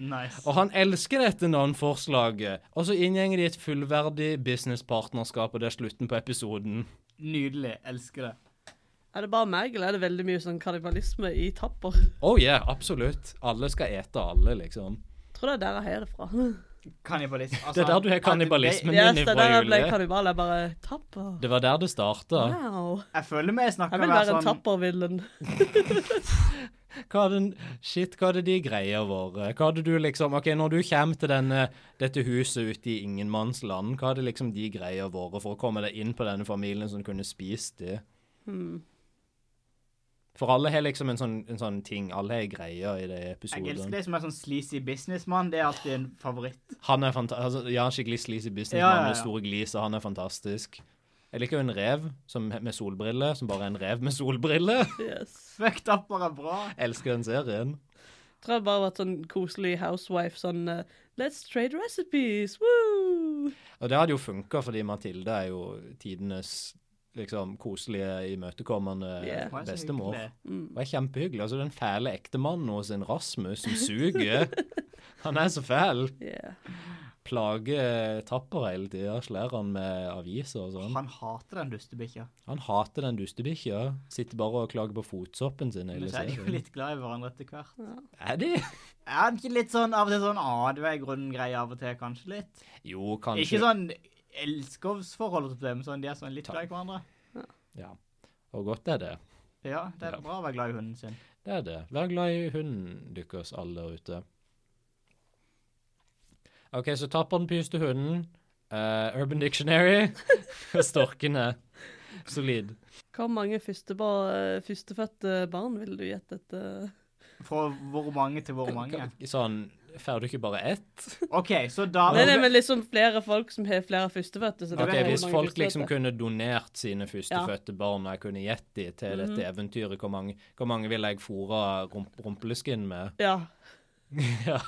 Speaker 3: Nice.
Speaker 2: Og han elsker dette navnforslaget. Og så inngjenger de et fullverdig businesspartnerskap, og det er slutten på episoden.
Speaker 3: Nydelig. Elsker det.
Speaker 4: Er det bare meg, eller er det veldig mye sånn kannibalisme i tapper?
Speaker 2: Oh yeah, absolutt. Alle skal ete alle, liksom.
Speaker 4: Tror det er der jeg har det fra.
Speaker 3: Kannibalisme. Altså,
Speaker 2: Det er der du har
Speaker 3: at-
Speaker 2: kannibalismen.
Speaker 3: det-
Speaker 2: Men den
Speaker 4: Yes,
Speaker 2: er
Speaker 4: det er
Speaker 2: fra
Speaker 4: der jeg ble
Speaker 2: Julie.
Speaker 4: kannibal. Jeg bare tapper.
Speaker 2: Det var der det starta.
Speaker 4: Wow.
Speaker 3: Jeg føler vi snakker
Speaker 4: Jeg vil
Speaker 3: mer
Speaker 4: være
Speaker 3: sånn
Speaker 4: en tappervillen.
Speaker 2: Hva er den, shit, hva er det de greier våre? Hva er det du liksom OK, når du kommer til denne, dette huset ute i ingenmannsland, hva er det liksom de greier våre for å komme deg inn på denne familien som kunne spist de?
Speaker 3: Hmm.
Speaker 2: For alle har liksom en sånn, en sånn ting, alle har greier i de
Speaker 3: Jeg elsker
Speaker 2: episodene.
Speaker 3: det som er sånn sleazy businessmann. Det er alltid en favoritt.
Speaker 2: Han er fanta- altså, ja, skikkelig sleazy businessmann
Speaker 3: Ja, ja, ja.
Speaker 2: med store gliser, han er fantastisk. Jeg liker jo en rev som, med solbriller, som bare er en rev med solbriller.
Speaker 4: Yes.
Speaker 3: Fuck, tapper er bra.
Speaker 2: Elsker den serien.
Speaker 4: Tror jeg bare har vært sånn koselig housewife. Sånn eh, Let's trade recipes! Woo!
Speaker 2: Og det hadde jo funka, fordi Mathilde er jo tidenes liksom, koselige, imøtekommende
Speaker 4: Yeah.
Speaker 3: Hva er så
Speaker 2: bestemor.
Speaker 3: hyggelig?
Speaker 2: Hun er kjempehyggelig. Altså, den fæle ektemannen hennes, en Rasmus, som suger. han er så fæl.
Speaker 4: Yeah.
Speaker 2: Plager Tapper hele tida. Slår han med aviser og sånn.
Speaker 3: Han hater den dustebikkja.
Speaker 2: Han hater den dustebikkja. Sitter bare og klager på fotsoppen sin
Speaker 3: Men
Speaker 2: hele
Speaker 3: så er de jo
Speaker 2: serien.
Speaker 3: litt glad i hverandre etter hvert.
Speaker 2: Er de?
Speaker 3: Er han ikke litt sånn av og til sånn ah, du er i grunnen grei av og til, kanskje litt?
Speaker 2: Jo, kanskje.
Speaker 3: Ikke sånn elskovsforhold, holdt jeg på å si, men sånn, de er sånn litt glad i hverandre.
Speaker 2: Ja. Og godt er det.
Speaker 3: Ja, det er
Speaker 2: Ja.
Speaker 3: bra å være glad i hunden sin.
Speaker 2: Det er det. Vær glad i hunden deres, alle der ute. OK, så tapper den pyste hunden. eh, Urban Dictionary og storkene. Solid.
Speaker 4: Hvor mange førstebar- eh, førstefødte barn ville du gjette eh? etter?
Speaker 3: Fra hvor mange til hvor mange.
Speaker 2: Ka- Sånn Får du ikke bare ett?
Speaker 3: OK, så da
Speaker 4: Nei, nei, men liksom flere folk som har flere førstefødte. Så det
Speaker 2: Ok,
Speaker 4: blir
Speaker 2: Hvis
Speaker 4: mange
Speaker 2: folk
Speaker 4: førstefødte.
Speaker 2: liksom kunne donert sine førstefødte barn, og jeg kunne gitt de til dette eventyret, hvor mange, hvor mange vil jeg fôre rump rumpeleskin med?
Speaker 4: Ja.
Speaker 2: ja.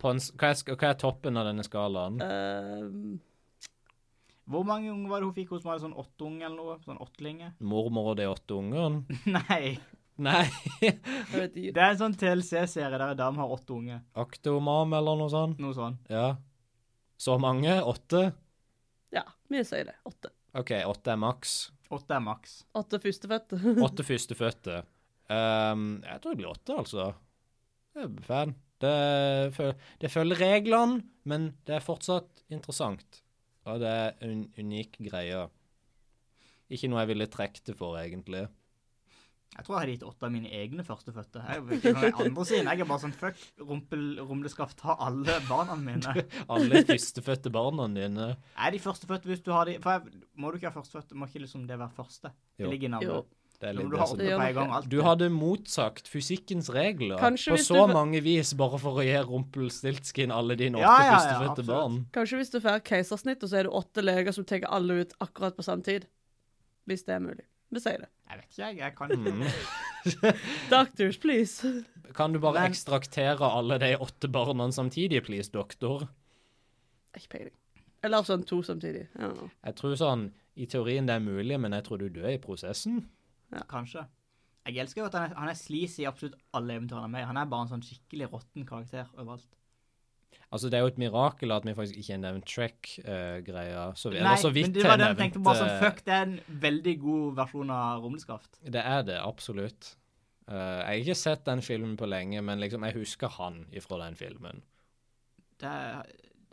Speaker 2: På en, s- hva, er, sk- hva er toppen av denne skalaen?
Speaker 4: ehm,
Speaker 3: Hvor mange unger var det hun fikk hos meg? Sånn åtte unger eller noe? Sånn åttelinge?
Speaker 2: Mormor og de åtte ungene?
Speaker 3: Nei.
Speaker 2: Nei.
Speaker 4: jeg vet ikke.
Speaker 3: Det er en sånn TLC-serie der en dame har åtte unger.
Speaker 2: Aktomam eller noe sånt.
Speaker 3: Noe sånn.
Speaker 2: Ja. Så mange? Åtte?
Speaker 4: Ja, vi sier det. Åtte.
Speaker 2: OK, åtte er maks.
Speaker 3: Åtte er maks.
Speaker 4: Åtte førstefødte.
Speaker 2: Åtte førstefødte. Ehm, jeg tror det blir åtte, altså. Jeg er fan. Det, føl- det følger reglene, men det er fortsatt interessant. Og det er en unik greie. Ikke noe jeg ville trukket det for, egentlig.
Speaker 3: Jeg tror jeg hadde gitt åtte av mine egne førstefødte. Jeg vet ikke hva den andre sin. Jeg er bare sånn fuck, rumpel, rumleskaft, ta alle barna mine.
Speaker 2: Alle førstefødte barna dine.
Speaker 3: Er de førstefødte hvis du har de For jeg, må du ikke ha førstefødte? Må ikke liksom det være første?
Speaker 2: Jo.
Speaker 3: Det ligger i navnet.
Speaker 4: Jo.
Speaker 2: Det er
Speaker 3: Når
Speaker 2: litt
Speaker 3: du har
Speaker 2: det
Speaker 3: åtte
Speaker 4: gjør
Speaker 3: på
Speaker 4: nok
Speaker 3: en gang
Speaker 4: det.
Speaker 3: alt.
Speaker 2: Du hadde motsagt fysikkens regler
Speaker 4: Kanskje
Speaker 2: på
Speaker 4: hvis
Speaker 2: så
Speaker 4: du-
Speaker 2: mange vis bare for å gi Rumpelstiltskin alle dine åtte
Speaker 3: Ja, ja, ja,
Speaker 2: førstefødte
Speaker 3: absolutt.
Speaker 2: barn.
Speaker 4: Kanskje hvis du får keisersnitt, og så er det åtte leger som tar alle ut akkurat på samme tid. Hvis det er mulig. Vi sier det.
Speaker 3: Jeg vet ikke, jeg. Jeg kan
Speaker 2: Mm.
Speaker 3: ikke.
Speaker 4: Doctors, please.
Speaker 2: Kan du bare
Speaker 3: Men-
Speaker 2: ekstraktere alle de åtte barna samtidig, please, doktor?
Speaker 4: Ikke peiling. Eller sånn to samtidig. I don't know.
Speaker 2: Jeg tror sånn I teorien det er mulig, men jeg tror du dør i prosessen.
Speaker 3: Kanskje. Jeg elsker jo at han er, han er sleazy i absolutt alle eventyrene med. Han er bare en sånn skikkelig råtten karakter overalt.
Speaker 2: Altså, det er jo et mirakel at vi faktisk ikke har nevnt Trek-greia. så, vi-
Speaker 3: Nei,
Speaker 2: eller så
Speaker 3: men
Speaker 2: vidt
Speaker 3: det var
Speaker 2: jeg
Speaker 3: det jeg tenkte bare sånn,
Speaker 2: nevnte-
Speaker 3: fuck, det er en veldig god versjon av Rumleskaft.
Speaker 2: eh, Det er det, absolutt. Eh, jeg har ikke sett den filmen på lenge, men liksom, jeg husker han ifra den filmen.
Speaker 3: Det er,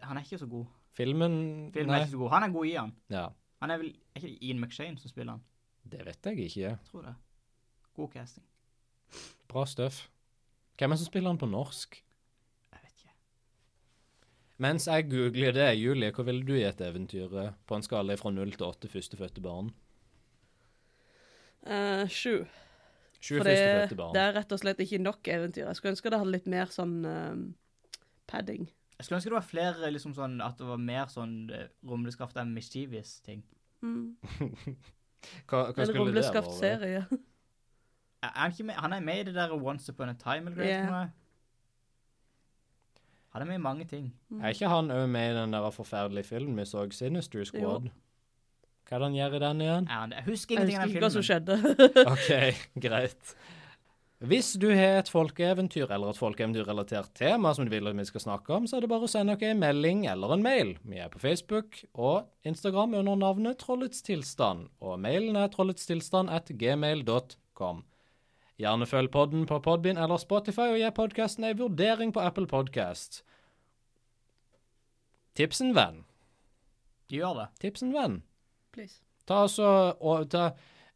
Speaker 3: han er ikke så god.
Speaker 2: Filmen,
Speaker 3: Filmen
Speaker 2: Nei.
Speaker 3: er ikke så god. Han er god i han.
Speaker 2: Ja,
Speaker 3: Han er vel er ikke det Ian McShane som spiller han?
Speaker 2: det vet jeg ikke.
Speaker 3: Jeg tror det. God casting.
Speaker 2: Bra støff. Hvem er det som spiller han på norsk?
Speaker 3: Jeg vet ikke.
Speaker 2: Mens jeg googler det, Julie, hva ville du gitt eventyret eh, på en skala fra null til åtte førstefødte barn?
Speaker 4: Eh, sju.
Speaker 2: Sju
Speaker 4: For det,
Speaker 2: førstefødte barn.
Speaker 4: det er rett og slett ikke nok eventyr. Jeg skulle ønske det hadde litt mer sånn eh, padding.
Speaker 3: Jeg skulle ønske det var flere liksom sånn, at det var mer sånn eh, Rumleskaft er mischievous ting.
Speaker 4: Mm.
Speaker 2: Hva, hva
Speaker 4: En
Speaker 2: skulle det vært?
Speaker 4: rumleskaftserie.
Speaker 3: Er er han, ikke med, han er med i det der Once upon a time eller
Speaker 4: Ja.
Speaker 3: noe? Han er med i mange ting.
Speaker 2: Er ikke han òg med i den der forferdelige filmen vi så, Sinister Squad? Hva er det han gjør i den igjen?
Speaker 3: Er han det? Jeg husker
Speaker 4: Jeg
Speaker 3: ingenting
Speaker 4: husker
Speaker 3: av den
Speaker 4: ikke hva
Speaker 3: filmen.
Speaker 4: som skjedde.
Speaker 2: OK, greit. Hvis du har et folkeeventyr eller et folkeeventyrrelatert tema som du vil at vi skal snakke om, så er det bare å sende oss en melding eller en mail. Vi er på Facebook og Instagram under navnet Trollets tilstand, og mailen er trolletstilstand at gmail.com. Gjerne følg podden på Podbin eller Spotify, og gi podkasten ei vurdering på Apple Podcast. Tips en venn.
Speaker 3: Gjør det.
Speaker 2: Tips en venn.
Speaker 4: Please.
Speaker 2: Ta også, og, ta,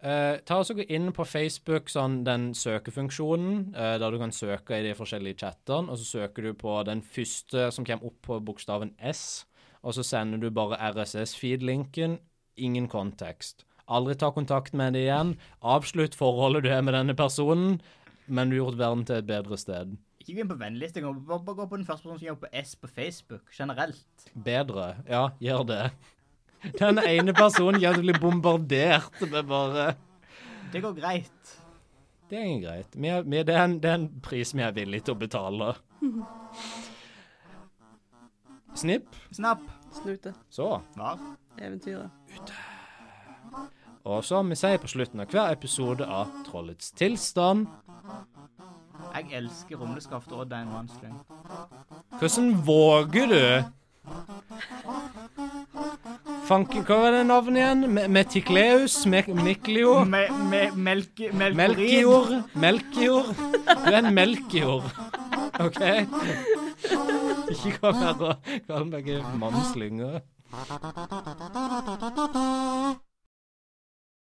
Speaker 2: eh, ta også Gå inn på Facebook, sånn, den søkefunksjonen, eh, der du kan søke i de forskjellige chattene, og så søker du på den første som kommer opp på bokstaven S, og så sender du bare RSS-feed-linken, ingen kontekst. Aldri ta kontakt med det igjen. Avslutt forholdet du har med denne personen, men du har gjort verden til et bedre sted.
Speaker 3: Ikke gå inn på vennlista, gå- bare bare gå på den første personen som jobber på S på Facebook, generelt.
Speaker 2: Bedre. Ja, gjør det. Den ene personen gjør at du blir bombardert med bare
Speaker 3: Det går greit.
Speaker 2: Det er greit. Vi er, vi, det, er en, det er en pris vi er villige til å betale. Snipp.
Speaker 3: Snap.
Speaker 4: Snute.
Speaker 2: Så.
Speaker 3: Var.
Speaker 4: Eventyret.
Speaker 2: Og som vi sier på slutten av hver episode av Trollets tilstand
Speaker 3: Jeg elsker rumleskaft og Dan Wanstring.
Speaker 2: Hvordan våger du? Fanken, hva var det navnet igjen? Me- Metikleus? Me Miklio?
Speaker 3: Me, me, melke, melkorin.
Speaker 2: Melkejord? Melkejord? Du er en melkejord. OK? Ikke kom her og kall meg mamslynger.
Speaker 1: Thank you.